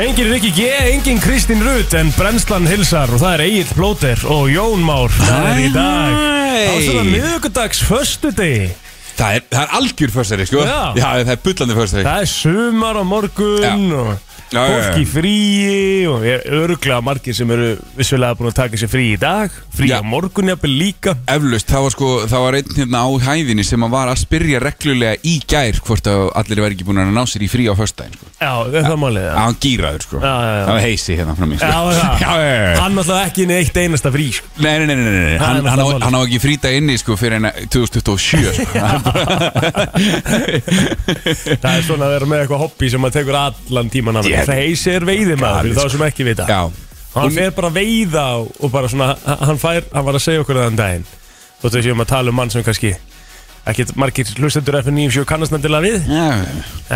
Engin Rikki G, engin Kristín Rutt en brennslan hilsar og það er Egil Blóter og Jón Már það er í dag Hæ, hæ. á svona miðugudags föstudegi Það er, það er algjör fyrstæri, sko Já. það er bullandi fyrstæri það er sumar á morgun Já. og Já, já, já. fólk í fríi og ég er örglega margir sem eru vissulega búin að taka sér frí í dag frí Já. á morgun jafnvel líka Eflaust, það var sko, það var einn hérna á hæðinni sem að var að spyrja reglulega í gær hvort að allir væri ekki búin að ná sér í frí á fyrstæðin, sko já, er það málið Það var gýraður, sko Já, já, já. Það var heisi hérna frá mér, sko Já, já. já, já, já. hann alltaf ekki inn í eitt einasta frí sko. Nei, nei, nei, nei, nei, nei. Það er Hann, hann, á, náttúrulega hann á ekki frýta inni sko fyrir henni 2027 sko. það er svona að vera með eitthvað hobby sem að tekur allan tíman Ég- af sko. yeah. það heisi er veiðimaður fyrir þá sem ekki vita Já, hann er bara að veiða og og bara svona, hann fær, hann var að segja okkur þann daginn, þóttu við séum að tala um mann sem kannski, ekki margir hlustendur FN97 kannast nættilega við já,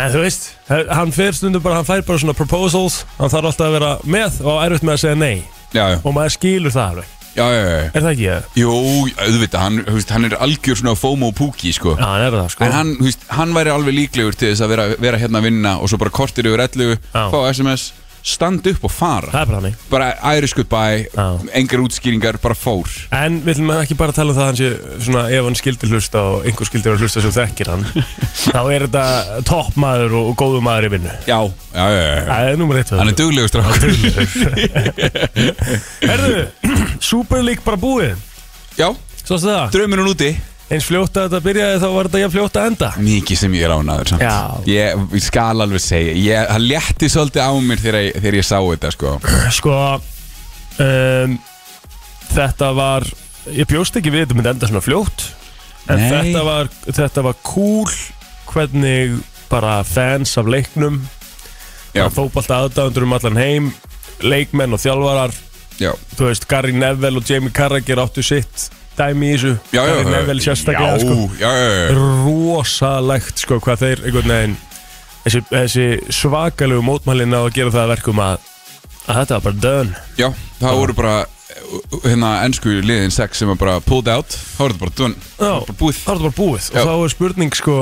en þú veist, hann fer stundum bara hann fær bara svona proposals, hann þarf alltaf að vera með og á erfitt með að segja nei já, já, og maður skilur það alveg, já, já, já. er það ekki ég? Jú, auðvitað, hann, þú veist, hann er algjör svona FOMO púki, sko Já, hann er það sko En hann, þú veist, hann væri alveg líklegur til þess að vera, vera hérna að vinna og svo bara kortir yfir 11, Já. fá SMS, standa upp og fara það er bara hann Bara Irish goodbye, Já. engar útskýringar, bara fór En við viljum ekki bara tala um það að hann sé svona ef hann skildi hlusta og einhver skildi vera að hlusta sem þekkir hann þá er þetta topp maður og og góður maður í vinnu Já, já, já, já, já. Það er nummer eitt við Hann er duglegur strákur Herðu, Super League bara búið Já, Svo stu það drauminn hún úti Eins fljótt að þetta byrjaði þá var þetta jafn fljótt að enda Mikið sem ég er ánaður samt Já. Ég ég skal alveg segja ég, Það létti svolítið á mér þegar ég, þegar ég sá þetta sko. Sko um, Þetta var Ég bjóst ekki við þetta myndi enda svona fljótt En Nei. þetta var Þetta var cool Hvernig bara fans af leiknum Já, Fótballt aðdáðundur um allan heim Leikmenn og þjálfarar já, Þú veist, Gary Neville og Jamie Carragher áttu sitt dæmi í þessu já, já Gary Neville sérstaklega já, sko. já, já, já, rosalegt sko hvað þeir einhvern veginn þessi, þessi svakalegu mótmælin á að gera það að verkum að, að þetta var bara done já Það voru bara uh, hérna ennsku liðin sex sem var bara pulled out Það voru þetta bara done Já, Bara búið það var þetta bara búið Já. og þá er spurning sko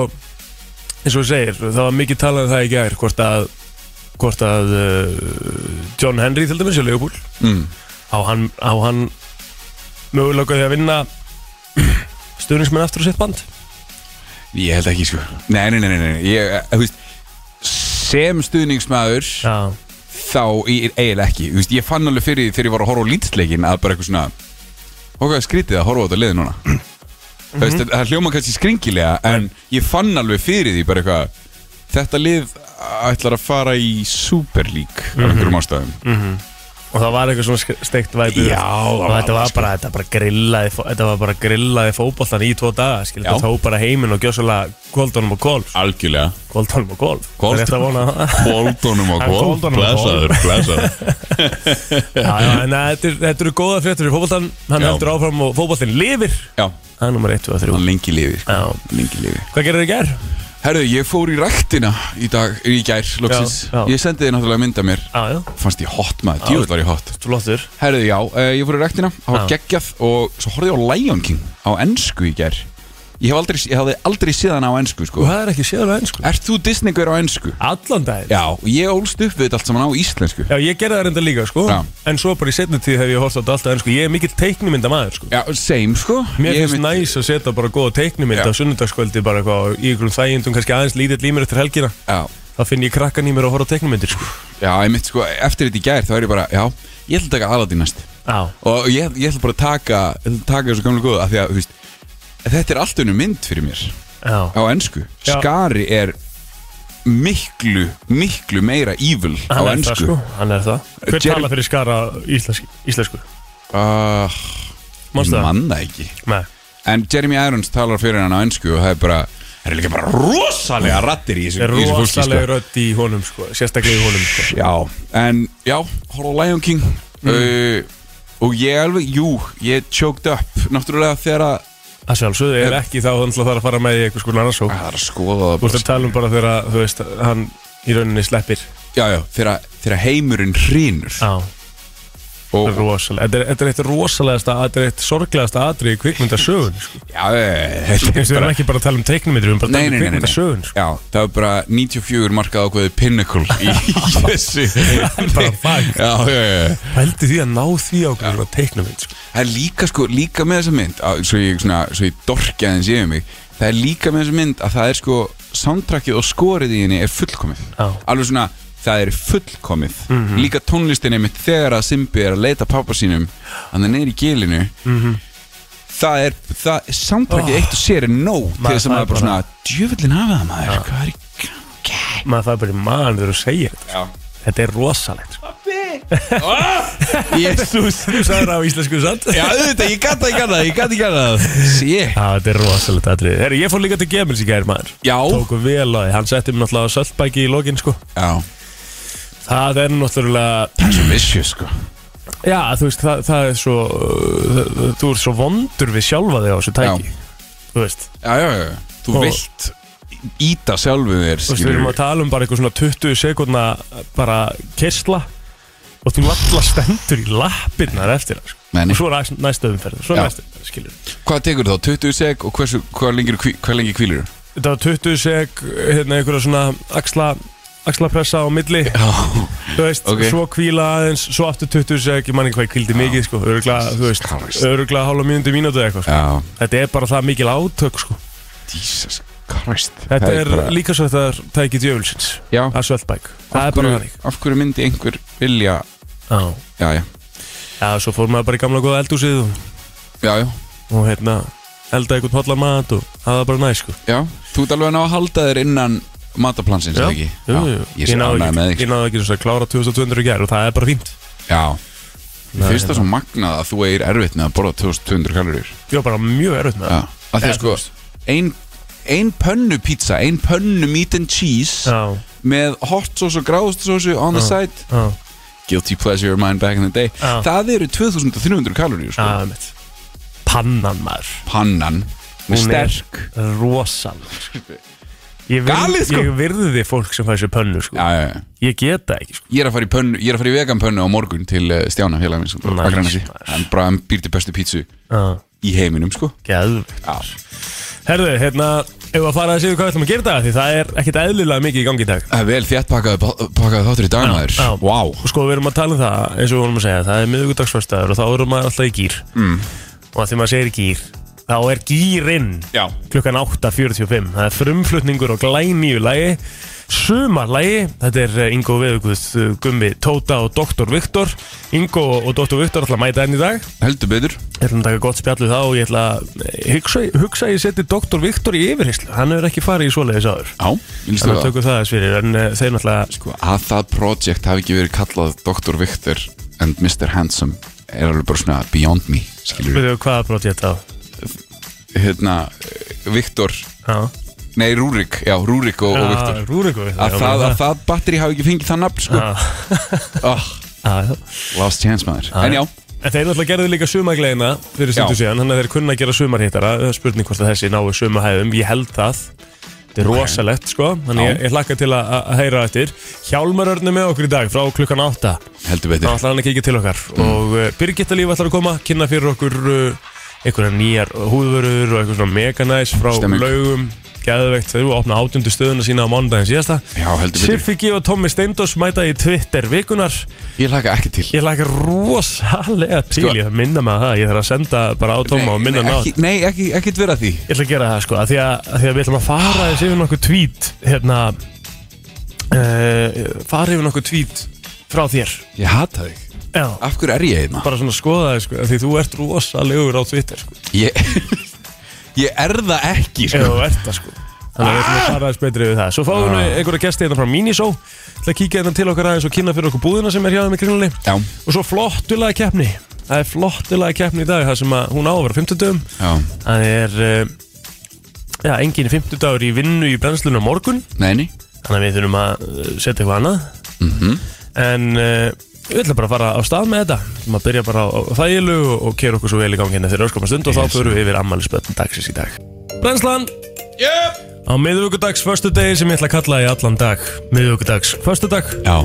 eins og þú segir, það var mikið talað um það í gær hvort að, hvort að uh, John Henry til dæmis í Leopold mm. á hann, á hann mögulega á því að vinna stuðningsmenn aftur á sitt band Ég held ekki sko Nei, nei, nei, nei, nei. Ég, eh, þú veist, Sem stuðningsmaður Já, Þá ég er eiginlega ekki Þú veist, Ég fann alveg fyrir því þegar ég var að horfa á lítstleikin Að bara eitthvað svona Ok, skrítið að horfa á þetta liði núna mm veist, Það hljóma kannski skringilega En ég fann alveg fyrir því bara eitthvað Þetta lið ætlar að fara í Super League Af einhverjum ástæðum og það var eitthvað svona steikt væpið Já, það og var þetta var alveg, bara, þetta bara grillaði fó- þetta var bara grillaði fótboltan í tvo daga skil, Já. þetta tó bara heiminn og gjössalega kvöldunum og golf, Algjörlega kvöldunum og golf Kvöld- þetta vona Kvóldunum og En kvóld kvóldunum og kvóld. blessaður já, já, en að þetta, er- þetta eru góða fréttur í fótboltan hann Já. heldur áfram og fótboltin lifir Já, það er nummer 1, 2 og hann 3 lengi lifi sko. já. Lengi lifi hvað gerir þið í gær? Herðu, ég fór í ræktina í dag, í gær, loksins Já, já. Ég sendi þið náttúrulega mynda mér já, já, Fannst ég hot maður, djúvel var ég hot flottur Herðu, já, eh, ég fór í ræktina, það var Já. geggjað Og svo horfði ég á Lion King á ennsku í gær Ég, hef aldrei, ég hafði aldrei séð hann á ennsku, sko og það er ekki séður aðeins sko Ert þú Disney-gaur á ennsku? allan daginn Já, og ég ólst upp við þetta allt saman á íslensku Já, ég gerði það reynda líka, sko Já. En svo bara í setni tíð hef ég horft á þetta alltaf En sko, ég er mikill teiknumynda maður, sko Já, same, sko Mér Ég finnst mynd- næs að setja bara góða teiknumynd Já. á sunnudagskvöldi bara eitthvað í ykkur þægindum kannski aðeins lítill í mér eftir helgina Já, þá finn ég krakkan í mér að horfa á teiknumyndir sko. já, ég mitt, sko, eftir þetta í gær þá er ég bara, já, ég ætla að taka Aladdin næst Já, Og ég, ég ætla bara að taka, taka þessu gamla góða af Því að, þú veist, þetta er allt unum mynd fyrir mér já, á ennsku Já. Skari er miklu, miklu meira evil á hann er það ennsku sko Hann er það Hver Uh, Jerry- tala fyrir skara íslensk, íslensku? Ah, Ég Manstu það? man það ekki Nei En Jeremy Irons talar fyrir hann á ennsku og það er bara Það er líka bara rosalega rattir í þessu, Er í þessu fólki sko. rosalega rödd í honum sko Sérstaklega í honum sko Já, en já, horfðu á Lion King uh, Og ég alveg, jú, ég choked up Náttúrulega þegar að Það sjálfsögðu er ekki þá þannig að það er að fara með í eitthvað sko annarsó Það er að skoða það Þú ert að bara tala um bara þegar að, þú veist hann í rauninni sleppir Já, já, þegar, þegar heimurinn hrýnur Já og, Rosalega, þetta er, þetta er eitt rosalegasta, þetta er eitt sorglegasta atrið í kvikmyndasögun sko. já, eh, þetta er Við erum bara ekki bara að tala um teiknumitri, við erum bara að Nei, tala nei, um nei, nei, nei. kvikmyndasögun sko. Já, það var bara 94 markað ákveði pinnacle í í þessu Bara fag. Já, já, já, já Pældi því að ná því á hverju teiknumit sko. Það er líka sko, líka með þessa mynd að, Svo ég, svona, svo ég dorki aðeins yfir mig Það er líka með þessa mynd að það er sko Soundtrackið og skorið í henni er fullkomið Já. Mhm. Alveg svona, það er fullkomið Líka tónlistinni mitt þegar að Simbi er að leita pappa sínum Þannig að neyri í gilinu Það er, það, Mhm. soundtrackið eitt og sér Mhm. er nóg Til þess Maður, að það er maður bara svona Djöfullin hafa það maður, hvað er í Maður það er bara í mann þegar þú segir þetta Já. Þetta er rosalegt sko. Yes. Þú þú sagðir það á íslensku satt Já, auðvitað, ég gata, ég gata, ég gata, ég gata Sér Já, þetta er rosalegt atrið Herri, ég fór líka til Gemils í gær maður Já. Tóku vel á því, hann setti mér náttúrulega á Söldbæki í lokin sko Já, Það er náttúrulega það er svo vissju, sko Já, þú veist, það, það er svo uh, það- Þú er svo vondur við sjálfa þig á þessu tæki Já. Þú veist, Já, já, já, þú Og- vilt íta sjálfu þér, þú veist, við erum að tala um bara eitthvað svona 20 sekundna bara kessla og þú allar stendur í lappirnar eftir það, sko. Nei, nei. og svo er aðeins- næsta umferð svo Já. næsta umferð, skilur Hvað tekur þá, 20 seg og hversu, hvað, lengir, hvað lengi kvílir þú? Þetta var 20 sek, hérna einhverja svona axla, axlapressa á milli Já, þú veist, Ok. svo kvíla aðeins svo aftur 20 sek, ég man ekki hvað ég kvíldi mikið sko, öruglega, þú veist, Christ. öruglega hálfa mínúti mínúti eða eitthvað, sko. já, þetta er bara það mikil átök sko. Jesus Christ Þetta Það er, bara- líka svo þetta er tæki djöfulsins Já, að svöldbæk Það er af bara hverju- þannig Af hverju myndi einhver vilja, Já, já, já, já svo fór maður bara í gamla góða eldhúsið og, já, já og hérna elda einhvern hotla mat og það var bara næs sko Já, þú ert alveg að ná að halda þér innan mataplansins, Já, eða ekki? jú, jú. Ég sé náði ánægð með ekki, þig, sko. ég náði ekki að klára 2200 í gær og það er bara fínt Já Mér Nei, finnst það hérna. svo magnað að þú eigir erfitt með að borða 2200 kalorir Ég var bara mjög erfitt með Já það Af því að Já, sko þú veist. ein, ein pönnu pizza, ein pönnu meat and cheese Já, með hot sauce og gráðust sauce on the side já, Guilty pleasure of mine back in the day Já. Það eru 2300 kalorir já, sko mitt Pannan maður, Pannan Hún Hún er- sterk rosal Ég, Galið, virð, sko. ég virði þið fólk sem fær sér pönnu sko Já, já, já Ég get það ekki sko Ég er að fara í pönnu, ég er að fara í vegan pönnu á morgun til eh, Stjána félagin sko, Nice, Akranesi nice. Hann bara hann býr til bestu pítsu Já, í heiminum sko geðvikt Já, Herðu, hérna, ef við að fara að segja hvað við ætlum að gera í dag Því það er ekkit eðlilega mikið í gangi í dag Það er vel þétt pakkaði, pakkaði þáttur í dagmaður já. Vá wow. Og sko, við erum að tala um það, eins og við vorum að segja Það er miðvikudagsfæstaður og þá erum maður alltaf í gýr mm. Og að því maður segir gýr Þá er gýrinn Já. klukkan 8.45 Það er frumflutningur og glænýju lagi Sumarlagi, þetta er eh, Ingo Veðuguð Gummi Tóta og Dr. Viktor Ingo og Dr. Viktor ætla að mæta enn í dag Heldur betur Ég ætla að taka gott spjallu þá og ég ætla að eh, hugsa, hugsa að ég seti Dr. Viktor í yfirheyslu Hann hefur ekki farið í svoleiðis áður Já, ég líst Þannig það að tökum það þess fyrir En eh, þeir náttúrulega Sko, að það project hafi ekki verið kallað Dr. Victor and Mr. Handsome er alveg bara svona beyond me skilur við, Við þau hvaða brot ég þetta á hérna Victor, Já. nei Rúrik já, Rúrik og, og Victor Ah, Já, Rúrikur að það, að það batteri hafi ekki fengið það nafn sko. Ah. oh, last chance maður, en já En þeir náttúrulega gerðu líka sumagleina fyrir stundu Já. síðan Þannig að þeir kunna að gera sumarhittara Það er Spurning hvort að þessi náu sumahæðum Ég held það Þetta er rosalegt sko Þannig Já. ég, ég hlakka til að, að- að heyra eftir Hjálmar Örn er með okkur í dag frá klukkan 8 heldur Þá betur, ætlar hann að kíkja til okkar Og uh, Birgitta Líf ætlar að koma Kynna fyrir okkur uh, einhverja nýjar húðvörur Og eitthvað svona meganæs frá Stemming. laugum Gæðvegt þegar þú opna átjöndu stöðuna sína á mánudaginn síðasta já heldur betur Siffi G og Tommi Steindós mæta í Twitter vikunar ég laka ekki til Ég laka rosalega til Sko- Ég þarf að minna maður það, ég þarf að senda bara á Tomma og minna hann á ekki, þetta. nei, ekki, ekki vera því Ég ætla að gera það sko, af því að, að, því að við ætlum að fara þessi yfir nokkuð tweet Hérna uh, Fara yfir nokkuð tweet frá þér ég hata þig, Já, af hverju er ég hérna? einna bara svona skoða þig sko, af því þú ert rosalegur á Twitter sko ég, ég er það ekki Ef sko. þú ert það sko Þannig að Ah! við ætlum að fara aðeins betri við það Svo fáum við einhverja gesti hérna frá Miniso Það að kíkja hérna til okkar aðeins og kynna fyrir okkur búðina sem er hjá þeim í kringlunni já, Og svo flottulega keppni Það er flottulega keppni í dag Það sem að hún á að vera á 50 dögum já, Það er uh, já, engin 50 dagur í vinnu í brennslunum á morgun neini Þannig að við þurfum að eh, setja eitthvað annað Mhm. En uh, við ætlum bara að fara á stað með þetta Við ætlum að byrja bara á, á þægilu og, og kera okkur svo vel í gangi hérna þegar öskama stund og þá förum við yfir ammælisbötn dagsins í dag Brennslan yep. á miðvöggudags, förstu degi sem ég ætla að kalla í allan dag Miðvöggudags, förstu dag já,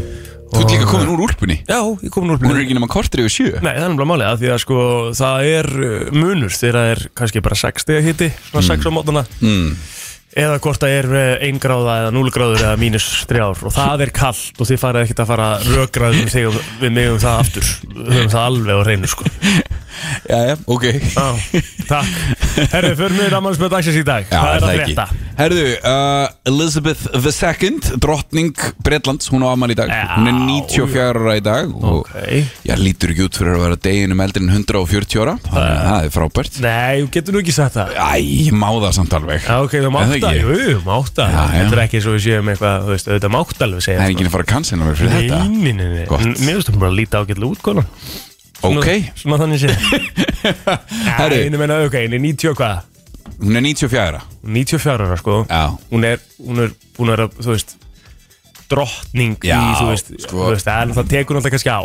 Þú ert líka komin úr úlpunni eh, Já, ég kom núr Hún er ekki nema kortir yfir sjö Nei, það er náttúrulega málið að því að sko það er uh, munur þegar það er kannski bara 6 stiga hitti, svona 6 á mótana mm. eða hvort það er 1 gráða eða 0 gráður eða mínus 3 ár og það er kallt og þið farið ekkert að fara rökraðum þig og við mig um það aftur við höfum það alveg á reynu sko Já, já, ok Já, takk Herri, förum við rammansmjöð dagsins í dag Já, Hvað er það að ekki. frétta? Herðu, uh, Elizabeth II, drottning Bretlands, hún á afmæli í dag Já. Hún er 94 ára í dag og Ok já, lítur ekki út fyrir að vera deginum eldri en 140 ára Þannig að það er frábært Nei, þú getur nú ekki sagt það Æ, ég má það samt alveg Já, ok, þú Er það mátt ekki? að, jú, jú, mátt að Já, já. Þetta er ekki svo við séum eitthvað, þú veist, auðvitað mátt alveg segja Það er svona. enginn að fara að cancela mér fyrir þetta Nei, nei, nei, nei. Gott. N- Mér finnst það bara að líta ágætlega út, konan Svona- Ok, Svona þannig sé Herri. Herri Ég meina, ok, hún er 90 og hvað? hún er 94 ára 94 ára, sko Já, Hún er, hún er búin að vera, þú veist Drottning Já, í, þú veist, sko. þú veist En það tekur náttúrulega kannski á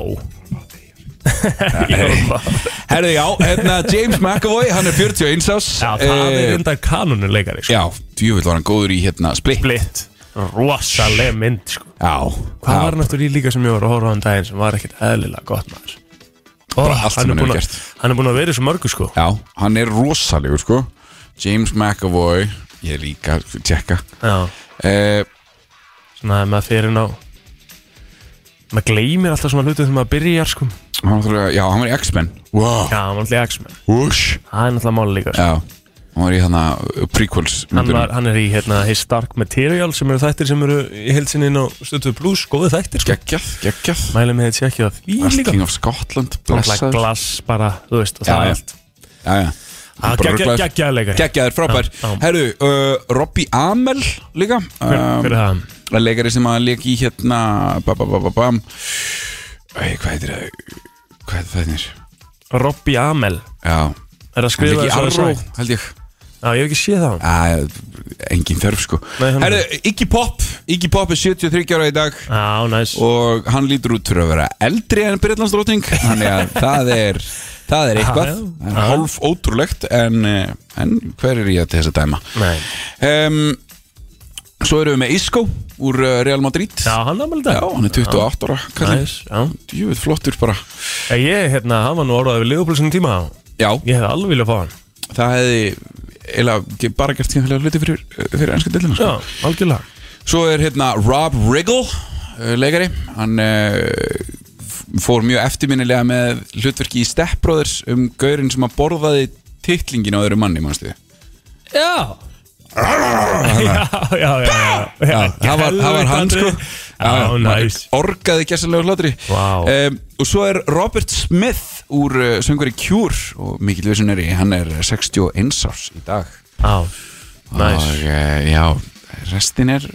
Já, hvað? herðu já, hérna James McAvoy, hann er 41 árs Já, það er enda kanunuleikari, sko Eh. Já, djúvill var hann góður í hérna Split Blitt Rosaleg mynd, sko Já, Hvað var náttúrulega í líka sem ég var að horfa á hann daginn sem var ekkert eðlilega gott maður Ó, Bara allt sem hann, er hann hefur búinn að- gert. hann er búin að vera í svo mörgu sko Já, hann er rosalegur sko James McAvoy Ég er líka að tjekka Já, eh, svona að maður fyrir ná maður gleymir alltaf svona hlutum þegar maður byrjar sko hann var náttúrulega- Já, hann var í X-Men wow. Já, hann var alltaf X-Men Whoosh. Það er náttúrulega máli líka sko. Já, hann var í þannig uh, prequels hann, myndunum. var, hann er í hérna, His Dark Material sem eru þættir sem eru í heilsinni inn á Stötu Blues, góðu þættir sko Geggjað, geggjað Mælum við þetta ekki að því Last líka King of Scotland Náttúrulega Blessaður glass bara, þú veist, og Já, já. það er allt Já, já Ah, Bara geggja- ruglaður. geggjaður leikari. Geggjaður, frábær Já, já. Herru, uh, Robbie Amell líka Hver, um, hver er það? Það er leikari sem að leik í hérna ba, ba, ba, ba, bam. Æ, Hvað heitir það? Hvað heitir það þér? Robbie Amell Já, Er að hann skrifa leik í þessu Arrow þessu? held ég Já, ég hef ekki séð það Æ, engin þörf sko Nei, hann- Herru, Iggy Pop Iggy Pop er 73 ára í dag Já, næs og hann lítur út fyrir að vera eldri en Breitlandsdróting þannig að það er það er eitthvað, Já, já. það er hálf ótrúlegt en, eh, en hver er ég til þess að dæma Nei. um, Svo erum við með Isco úr eh, Real Madrid Já, hann er ammaldið Já, hann er 28 ára kallinn. Næs, já Djúvill flottur bara Eh, Ég, hérna, hann var nú orðaði við Liverpool sinni tíma Já, Ég hefði alveg viljað fá hann það hefði eiginlega ge- bara gert skemmtilega hluti fyrir, fyrir ennska dillina Já, algjörlega Svo er hérna Rob Riggle uh, leikari, hann uh, fór mjög eftirminnilega með hlutverki í Step Brothers um gaurinn sem að borðaði titlingin á öðru manni, mannstu Já Já, já, já, já, já það var, það var hann sko Já, næs Orgaði gæsarlega hlutri Vá. Og svo er Robert Smith úr uh, söngari Cure og mikill vissunari, hann er 61 árs í dag Já, næs Og uh, já, restin er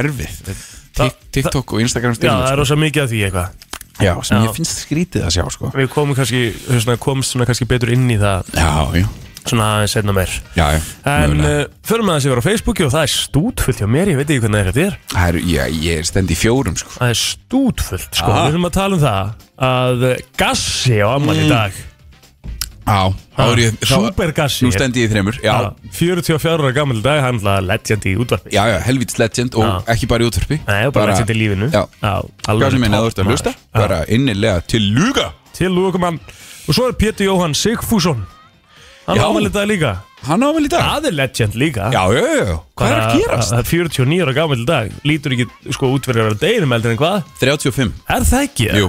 erfið Það- Tik- TikTok og Instagram Já, stílum það er rosa mikið af því eitthvað Já, sem Já. ég finnst skrítið að sjá sko Við komum kannski, þú veist, svona, komst svona kannski betur inn í það Já, já, Svona aðeins setna meir já, já En mögulega. uh, förum aðeins yfir á Facebooki og það er stútfullt hjá mér Ég veit ekki hvernig þetta er Það er, já, ég er stend í fjórum sko Það er stútfullt, sko Aha. Við erum að tala um það Að gassi á amman í dag Já, Mm. þá er ég þá- Supergassi. Nú stend ég í þremur, já Já, 44 ára gammal dag, hann er legend í útvarpi Já, já, helvítis legend og Já. ekki bara í útverfi Nei, bara, bara legend í lífinu Já, alveg hvað sem minna þú topp ert að maður. hlusta Já, Bara innilega til luga Til lúkumann Og svo er Pétur Jóhann Sigfússon Hann Já. ámæli dag líka Hann á vel í dag Það er legend líka Já, já, já, já, hvað er Bara- að gerast? að- að 49 ára gammal dag Lítur ekki sko útverjar að deginum eldur en hvað 35 Er það ekki? Jú,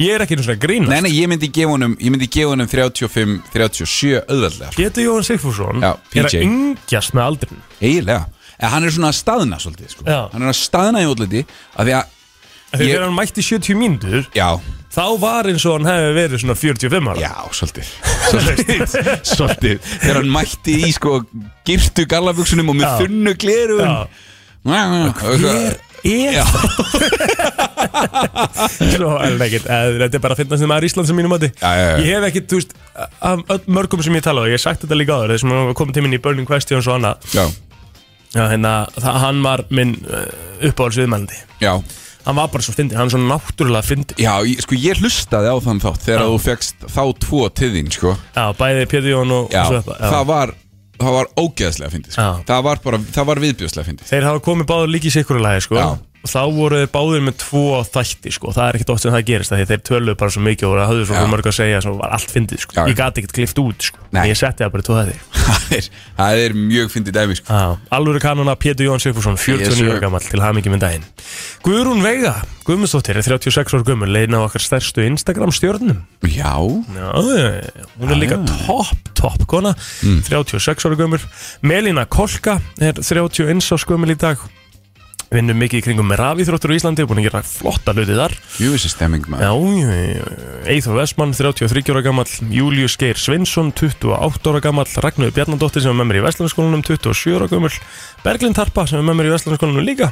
Ég er ekki einu svona að grína nei, nei, ég myndi gefa honum Ég myndi gefa honum 35, 37 auðveldlega sko. Pétur Jóhann Sigfússon Já, Er að PJ. yngjast með aldrin Eiginlega En hann er svona að staðna svolítið sko. Já. Hann er að staðna í útliti Af því að, Ég- Þegar hann mætti 70 mínútur já, Þá var eins og hann hefði verið svona 45 ára Já, svolítið Svolítið, svolítið. Þegar hann mætti í sko girtu gallabuksunum og með Já. þunnu glerun Já. Hver? Ég Já, Svo, en ekkert, eh, þetta er bara að finnast þeim maður Íslands sem mínum mati Já, já, já. Ég hef ekkert, þú veist, af öll mörgum sem ég tala og ég hef sagt þetta líka áður þessum að koma til minn í Burning Questions og annað já, Já, hérna, það, hann var minn uh, uppáhaldsviðmælandi já, Hann var bara svo fyndin, hann var svo náttúrulega fyndin já ég- sko ég hlustaði á þann þátt þegar þú fegst þá tvo til þín sko Já, bæði Pétur Jón og Já, og Sveppa það var, það var ógeðslega fyndið sko. Já. það, var bara, það var viðbjöðslega fyndið Þeir hafa komið báður líki í sikkur lagi, sko Já. þá voru þeir báðir með tvo þætti sko. það er ekkert oft sem það gerist af því þeir töluðu bara svo mikið og voru- höfðu svo Já. mörg að segja svo var allt fyndið sko. Já, já. ég gati ekkert klift út sko. Nei. ég setti það bara í tvo þætti það er, það er mjög fyndið dæmi sko. Já, Alvöru kanona Pétur Jón Sigfússon, 49 Yes, ára sir. gammal til hamingi með daginn. Guðrún Veiga, Guðmundsdóttir, er 36 ára gömul, leiðin á okkar stærstu Instagram stjórnum. Já, Já, já, já, hún er líka topp, topp kona, 36 ára gömul. Melina Kolka er 31 ára gömul í dag, vinnur mikið í kringum með rafíþróttur á Íslandi, búin að gera flotta hluti þar. mjög þessi stemming maður Já, já, já, Eithor Vestmann, 33 ára gammal, Július Geir Svinsson, 28 ára gammal, Ragnar Bjarnadóttir sem er með mér í Vestlandskólanum, 27 ára gammal, Berglind Harpa sem er með mér í Vestlandskólanum líka,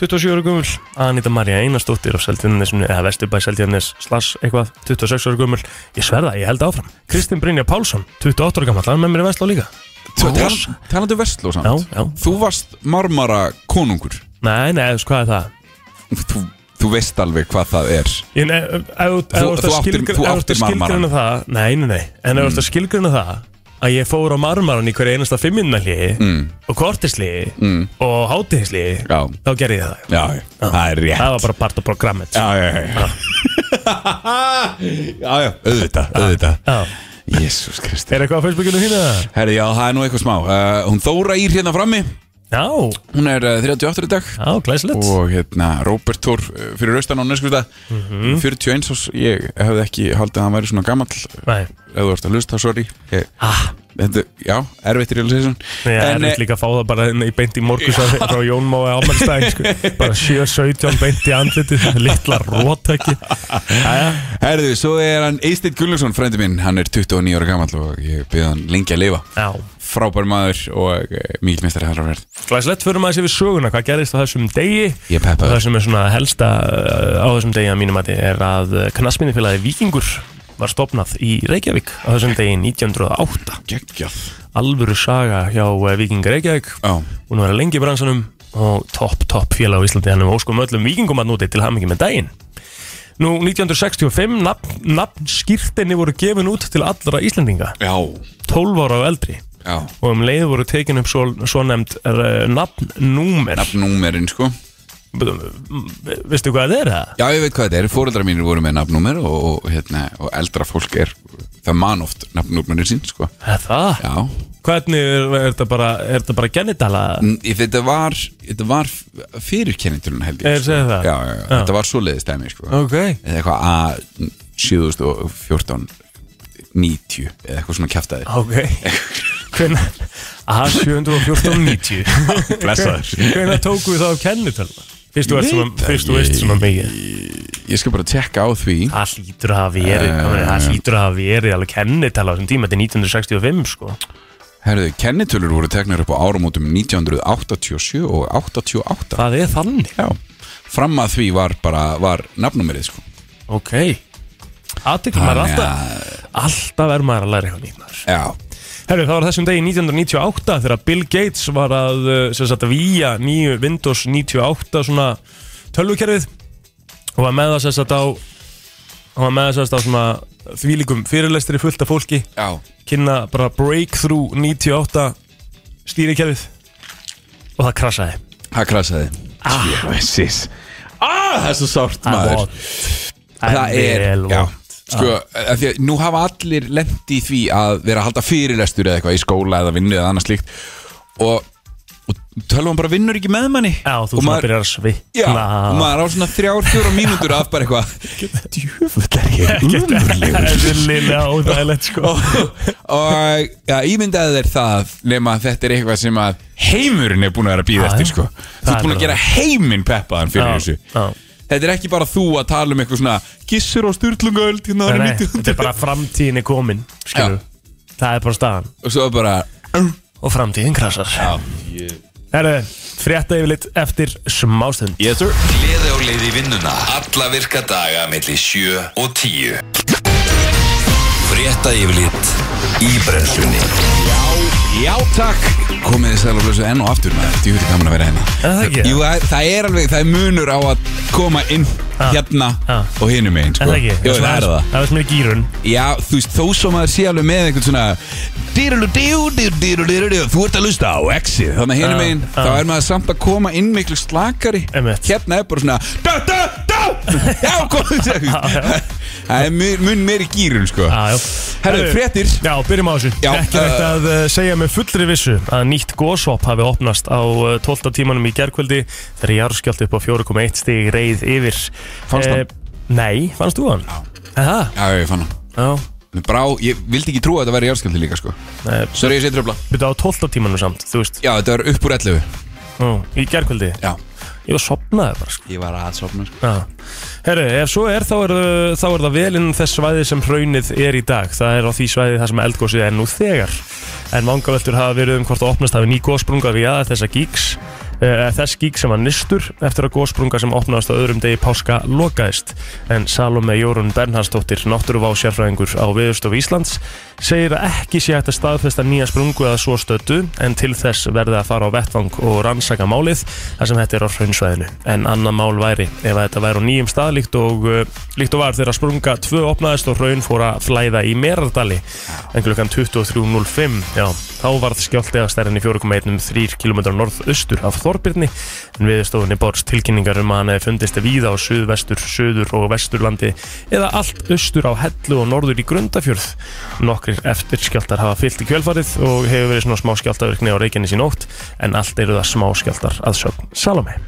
27 ára gammal, Anita Maria Einarsdóttir á Seldjarnesinu, eða Vesturbæ Seldjarnes, slass eitthvað, 26 ára gammal, ég sverða, ég held áfram, Kristinn Brynja Pálsson, 28 ára gammal, hann er með mér í Vestló líka. Tal- tal- Talandi um Vestló samt Já, já. Þú varst marmara konungur Nei, nei, þú veist, hvað er það? þú, þú veist alveg hvað það er Ég, nei, ef, ef, ef, Þú- þú ert að þú áttir- þú skilgre- ef þú ert áttir að skilgruna marmarann. það Nei, nei, nei, en ef þú ert að skilgruna það að ég fór á marmaran í hverju einasta fimminnalliði mm. og kortisliði mm. og hátiðisliði Já. þá gerði ég það Já, já, það er rétt Það var bara part af programmet Já, já, já Já, já, auðvitað, auðvitað Jésús Kristi Er eitthvað á Facebookinu þínu? Herri, já, það er nú eitthvað smá uh, Hún Þóra Ír hérna frammi Já, Hún er uh, 38 í dag já, glæsilegt og hérna Robert Thor uh, fyrir austan á nöskusta Mhm. 41 ás, ég hefði ekki haldið að hann væri svona gamall Nei, ef þú ert að hlusta, sorry ég, ah, þetta, já, erfitt í realisation ég er eh, eftir líka að fá það bara inn í beint í morgus frá Jón Mói ámælstæðin sko. bara 7-17 beint í andlitið litla rótæki Jæja, herðu, svo er hann Eysteinn Gullarsson, frændi minn, hann er 29 ára gamall og ég byrði hann lengi að lifa Já, frábær maður og uh, mikil mestari hann verð Glæslegt fyrir maður sér við söguna hvað gerðist á þessum degi Ég er peppaður. og það sem er svona helsta uh, á þessum degi að mínum mati er að knassminnifélagi Víkingur var stopnað í Reykjavík á þessum degi 1908 geggjað alvöru saga hjá uh, Víkingur Reykjavík já, og nú er að lengi í bransanum og topp, topp félag á Íslandi hann um óskum öllum vikingum að núti til hamingi með daginn Nú 1965 nafn, nafnskýrtinni voru gefin út til allra Íslandinga já, 12 ára og eldri já og um leið voru tekin upp svo, svo nefnd uh, nafnnúmer nafnnúmerin sko veistu hvað það er það? já, ég veit hvað þetta er, fóreldrar mínir voru með nafnnúmer og, og, hérna, og eldra fólk er það man oft nafnnúmerin sín sko Er Það? já, Hvernig er, er þetta bara, er þetta bara genitala? N- í- Þetta var, þetta var fyrir kenniturinn held ég Er sko. það það? Já, já, já, þetta var svoleiðist dæmi sko. Ok. Eða eitthvað að 7014 90 eða eitthvað svona kjaftaðir Ok. Hvenær? A71490. Blessaður. Hvenær tóku við það af genitala? Fyrst þú Ég veist svona, veit það fyrst þú veist ekki. svona mikið. Ég skal bara tekka á því Það hlýtur að hafa verið, Eh. uh, það hlýtur að hafa verið alveg genitala á þessum tíma, þetta er 1965 sko. Herðu, kennitölur voru teknar upp á árumótum 1987 og 88 Það er þannig. Já, fram að því var bara var nafnumerið sko Ok. Aðteknum maður Þannig alltaf, alltaf er maður að læra eitthvað nýtt maður. Já, Herru, það var þessum degi 1998 þegar Bill Gates var að uh, sem sagt, víja nýju Windows 98 svona tölvukerfið og var með það sem sagt á og var með það sem sagt á svona þvílíkum fyrirlestri fullt af fólki já, kynna bara Breakthrough 98 stýrikerfið og það krasaði það krasaði ah. Jesus Ah, það er svo sárt Það er maður vont. Það er já, vel vont. Ah. sko, af því að nú hafa allir lent í því að vera að halda fyrirlestur eða eitthvað í skóla eða vinnu eða annað slíkt og, og tölvan bara vinnur ekki með manni Já, þú og svona maður, byrjar að já, svikna og maður á svona þrjár, fjóra mínútur af bara eitthvað djöfull er ég umurlegur Eðlilega óþægilegt sko og já, ímyndaði þér það nema að þetta er eitthvað sem að heimurinn er búin að vera að býða Já, eftir já. sko. þú Það ert er búin að bara gera heiminn peppaðan fyrir Já, þessu já. þetta er ekki bara þú að tala um eitthvað svona gissur og styrlungaöld hérna Nei, árið nei, þetta 1900 er bara framtíðin er komin skilur Það er bara staðan og svo bara og framtíðin krasar Herru, frétta yfirlit eftir smástund yes sir Gleði á leið í vinnuna Alla virka daga melli 7 og 10 Frétta yfirlit í brennslunni Já, Já, takk Komið þið sæl og blössu enn og aftur maður Djúviti gaman að vera hérna Er það ekki? Jú, það er- það er alveg, það er munur á að koma inn hérna Ha. og hinum einn sko. Er það ekki? Jú, það er það Það er sem er gýrun Já, þú veist, þó svo maður sé alveg með einhvern svona dýruludíu, dýruludíu, Þú ert að lusta á exið Þannig að hinum Já, einn, já. þá er maður samt að koma inn miklu slakari Einmitt. Hérna er bara svona Dá, dá, dá Já, komið þið Það er mun- mun meiri gýrun, sko Já, já. Herru, Herru, fréttir Já, byrjum á þessu. Já, Ekki eh, hægt að uh, segja með fullri vissu að nýtt góshopp hafi opnast á uh, 12. tímanum í gerkvöldi þegar jarðskjálfti upp á 4,1 stig reið yfir. Fannst hann? Eh, nei, fannst þú hann? Já. Það? Já, ég fann hann Já. Mér brá, ég vildi ekki trúa að þetta væri jarðskjöldi líka sko Nei, Sorry, ég sé tröfla byrja á 12. tímanum samt, þú veist, Já, þetta var upp úr 11 Ó, í gerkvöldi. Já Ég var sopnaði bara, sko. Ég var að sopna sko Já. Herru, ef svo er þá, er uh, þá er það vel innan þess svæði sem hraunið er í dag. Það er á því svæði þar sem eldgósið er nú þegar. En vangaveltur hafa verið um hvort að opnast hafi ný gósprunga við aðeins þessa gíks. Uh, þess gík sem var nýstur eftir að gósprunga sem opnaðast á öðrum degi páska lokaðist. En Salome Jórun Bernhardsdóttir, náttúruvá sérfræðingur á Viðurstofu Íslands, segir að ekki sé hægt að staðfesta nýja sprungu að svo stötu en til þess verði að fara á vettvang og rannsaka málið þar sem þetta er á hraunsvæðinu. En annað mál væri ef að þetta væri á nýjum stað líkt og, uh, líkt og var þegar sprunga tvö opnaðist og hraun fór að flæða í Merardali en klukkan 23.05 já, þá varð skjálti að stærðin í 4,13 km norðaustur af Þorbirni en viðstofunni borst tilkynningar um að hann hefði fundist víða á suðvestur, suður og vesturlandi eða allt austur á Hellu og norður í Grundafjörð nokkrir eftirskjáltar hafa fyllt í kjölfarið og hefur verið svona smá skjáltaverkni á Reykjanes í nótt en allt eru það smá skjáltar að sögn Salome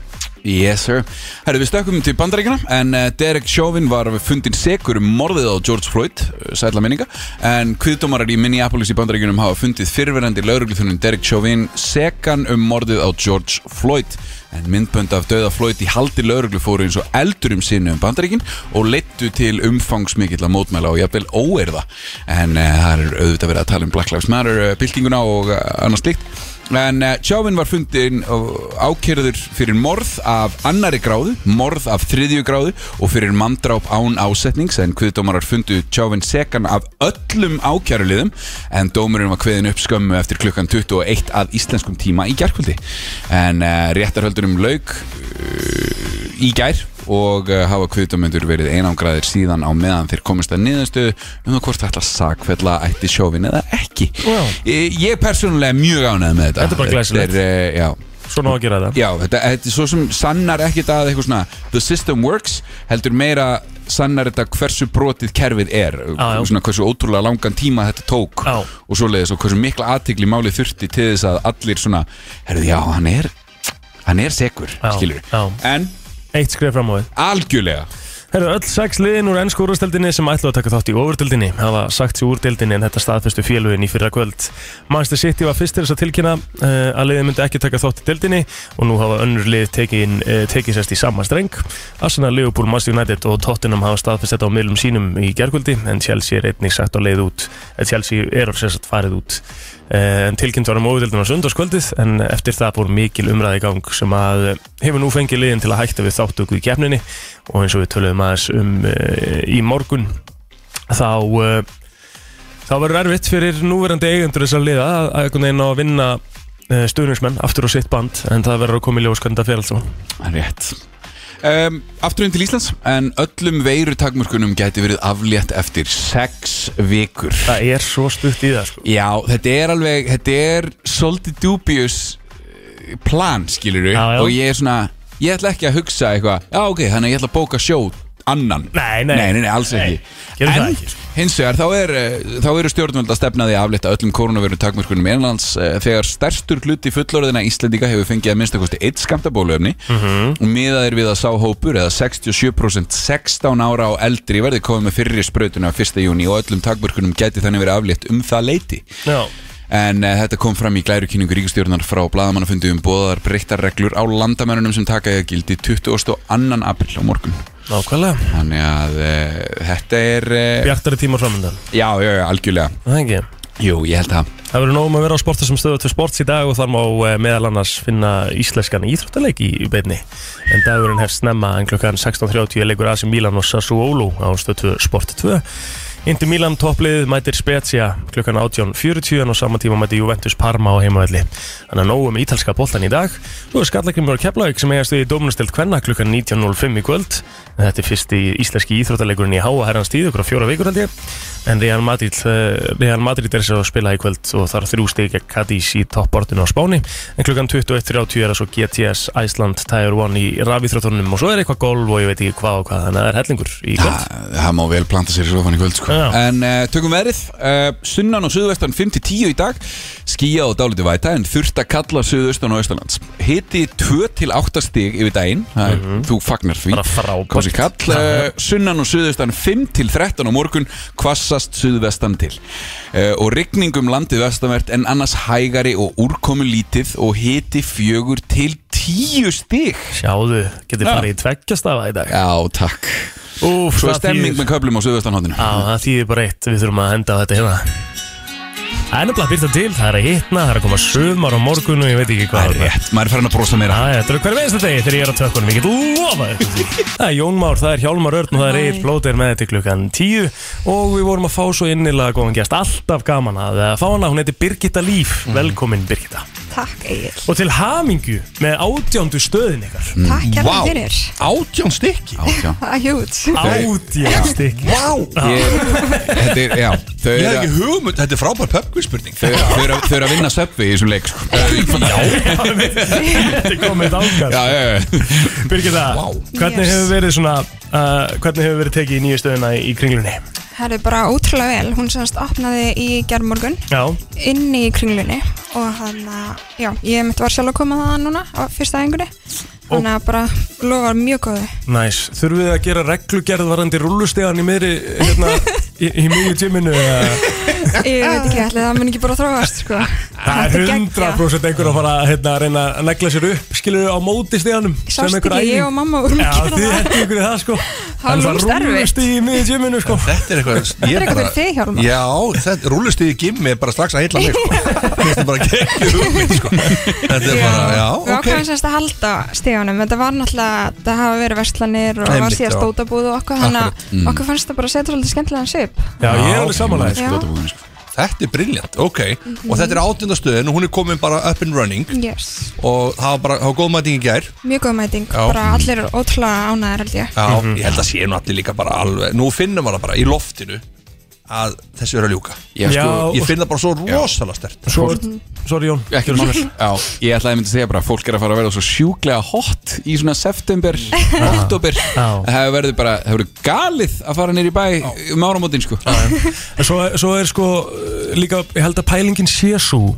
Yes sir Herru, við stökkum til bandaríkina En uh, Derek Chauvin var fundin sekur um morðið á George Floyd eh, Sætla minninga En kviðdómarar í Minneapolis í bandaríkunum hafa fundið fyrverandi laurugluþunum Derek Chauvin Sekan um morðið á George Floyd En myndbönd af döða Floyd í haldi lauruglu fóru eins og eldur um sinni um bandaríkin og leittu til umfangsmikilla mótmæla og jafnvel óerða. En uh, það er auðvitað verið að tala um Black Lives Matter, uh, byltinguna og uh, annars slíkt. En uh, Chauvin var fundin uh, ákjörður fyrir morð af annari gráðu, morð af þriðju gráðu og fyrir mandráp án ásetnings en kviðdómarar fundu Chauvin sekan af öllum ákjæruliðum en dómurinn var kveðin upp skömmu eftir klukkan 21 að íslenskum tíma í gærkvöldi. En uh, réttarhöldunum lauk eh, í gær og uh, hafa kviðdómyndur verið einangraðir síðan á meðan þeir komist að niðurstöðu um það hvort þetta sakfella ætti sjófin eða ekki Já. ég, ég er persónulega mjög ánægð með þetta Þetta er bara glæsilegt. Þetta er, eh, já Svona á að gera það Já, þetta, þetta er svo sem sannar ekkit að eitthvað svona The system works heldur meira sannar þetta hversu brotið kerfið er já. svona hversu ótrúlega langan tíma þetta tók Já. og svoleiðis og hversu mikla aðtigli málið þurfti til þess að allir svona herðu, já, hann er hann er segur, Já, skilur já. en Eitt skrif fram á við algjörlega Herru, öll sex liðin úr ennsku úrvarsdeildinni sem ætlaðu að taka þátt í ofurdeildinni hafa sagt sér úrdeildinni en þetta staðfestu félugin í fyrra kvöld. Manchester City var fyrst til þess að tilkynna uh, að liðin myndi ekki taka þátt í deildinni og nú hafa önnur lið tekin, uh, tekið sérst í sama streng. Arsenal, Liverpool, Manchester United og Tottenham hafa staðfest þetta á miðlum sínum í gerkvöldi en Chelsea er einnig sagt á leið út, eh, Chelsea er sérst farið út. Eh, En tilkynnt var um óvildildin á söndagskvöldið en eftir það fór mikil umræði í gang sem að eh, hefur nú fengið liðin til að hætta við þáttöku í keppninni og eins og við töluðum aðeins um uh, í morgun þá uh, þá verður erfitt fyrir núverandi eigendur þess að liða að að einhvern veginn á að vinna uh, stuðningsmenn aftur á sitt band en það verður að koma í ljós hvernig það fer allt saman. Rétt Um, afturinn til Íslands en öllum veirutakmörkunum gæti verið aflétt eftir sex vikur Það er svo stutt í það sko. Já, þetta er alveg, þetta er svolítið dubious eh, plan, skilur við Já, já. Og ég er svona, ég ætla ekki að hugsa eitthvað Já, ok, þannig að ég ætla að bóka sjó annan Nei, nei. Nei, nei, alls Nei, ekki gerum það En ekki, sko. hins vegar, þá, er, eh, þá eru stjórnvöld að stefna því að aflétta öllum koronaviru takmörkunum innlands eh, þegar stærstur gluti fullorðina Íslendinga hefur fengið að minnstakosti eitt skamtabóluefni Mhm. og miðað er við að sá hópur eða 67% 16 ára og eldri verði komið með fyrri sprautuna 1. júni og öllum takmörkunum gæti þannig verið aflétt um það leiti Já, En uh, þetta kom fram í glærukynningu ríkistjórnar frá blaðamannafundi um bóðar breyttar reglur á landamærunum sem taka eða gildi 22. annan april á morgun. nákvæmlega. Þannig að uh, þetta er, uh, Bjartari tímar framöndan. já, já, já, algjörlega. Það er ekki. Jú, ég held það. Það verður nóg um að vera á sportu sem stöðu til sports í dag og þar má eh, meðal annars finna íslenskan íþróttaleik í í beinni. En dagurinn hefst snemma en klukkan 16.30 leikur AC Milan og Sassuolo á stöðu sport 2. Inter Milan topplið mætir Spezia klukkan 18.40 en á sama tíma mætir Juventus Parma á heimavelli. Þannig að nógum ítalska boltan í dag. Þú er skallakrimur og keflaug sem eigast við í Dómunastild Kvenna klukkan 19.05 í kvöld. En þetta er fyrsti íslenski íþróttalegurinn í háa herrans tíð, okkur á fjóra vikur held ég. En Real Madrid, eh, Real Madrid er þess að spila í kvöld og þar þrjú stig gegn Cadiz í toppbortinu á Spáni. En klukkan 21.30 er það svo GTS Iceland Tier 1 í rafíþróttunum og svo er eitthvað golf og ég veit ekki hvað og hvað, þannig að það er hellingur í kvöld. Það það má vel planta sér í sofann í kvöld sko. Já. En uh, tökum verið uh, Sunnan og suðvestan 5-10 í dag Skíja og dálítið væta En þurft að kalla suðaustan og austalands Hiti 2-8 stig yfir daginn Það er, Þú fagnar því Mhm. Bara frábært. Kosi kall uh, Sunnan og suðaustan 5-13 á morgun Hvassast suðvestan til uh, Og rigning um landið vestanvert En annars hægari og úrkomu lítið Og hiti 4-10 stig Sjáðu, getur Já. farið í tveggjastafa í dag Ah. Já, takk Úf, Svo er það stemming þýðir- með köflum á suðvestanhóttinu Já, það þýðir bara eitt, við þurfum að henda á þetta hérna Það er nefnilega að byrta til, það er að hitna, það er að koma sumar á morgun og ég veit ekki Það hvað er rétt, maður er farin að brosa meira Já, þetta er hver veist degi þegar ég er á tökkunum, ég get lofa ykkur því. Það er Jón Már, það er Hjálmar Örn og það er Egil Blóter með þetta í klukkan tíu og við vorum að fá svo innilega góðan gæst, alltaf gaman að eh, fá hana, hún heitir Birgitta Líf, Mhm. velkomin Birgitta. Takk Egil Og til hamingju með átjándu stöðin ykkar, Takk hérna Vá. fyrir Átján stykki? Átján Það er hjút átjándu stykki. Vá, Ég- Þetta er, já Þau ég eru hef að- ekki hugmynd, þetta er frábær pöpkvíspurning þau- þau eru að- þau eru að vinna söpvi í þessum leik sko. Þetta er komið ákast. Já, já, já Birgitta, Vá. hvernig Yes. hefur verið svona uh, hvernig hefur verið tekið í nýju stöðuna í, í kringlunni? Það er bara ótrúlega vel Hún semst opnaði í gerðmorgun Já, inn í kringlunni og hann að, já, ég mitt var sjálf að koma það núna á fyrsta engunni hann að bara lofar mjög góðu næs. Þurfum við að gera reglugerð varandi rúlustegan í miðri hérna, í, í miðju tíminu? ég veit ekki allir, það mun ekki bara þróast sko. Það er Þetta geggjað. 100% einhver að fara hérna, að reyna að negla sér upp, skilur á móti steganum sást ekki, ég og mamma vorum Já, að gera þið það hættu ykkur í það sko Það var lúmst erfitt. rúlustegi í miðju tíminu sko Þetta er eitthvað Þetta er eitthvað fyrir þig, Hjálmar. Já, þetta rúlustiði gimmi er bara strax að heilla mig sko. Þetta er bara ekki hugmynd sko. Þetta er bara, já, við ok ákvæðum semst að halda stegunum þetta var náttúrulega, það hafa verið verslanir og Einmitt, var síðast já. stótabúð og okkur þannig að okkur fannst það bara að setja svolítið skemmtilegan svip Já, ég er alveg samanlega Já. Dótabúðinni, sko. Þetta er briljant, ok Og þetta er áttundastöðin og hún er komin bara up and running yes. Og það var bara, það var góð mæting í gær mjög góð mæting, Já. bara allir eru ótrúlega ánæðar held ég Já, Mhm. ég held að sé nú allir líka bara alveg Nú finnum við það bara í loftinu Að þessi er að ljúka Já, sko, Já, Ég finn það bara svo rosalega stert svo, sorry Jón ekki um mál Já, ég ætlaði að myndi að segja bara að Fólk er að fara að verða svo sjúklega hot Í svona september, oktober Já. Það verður bara, það verður galið Að fara nýr í bæ um áramótin sko. En Svo, svo er sko uh, líka, ég held að pælingin sé svo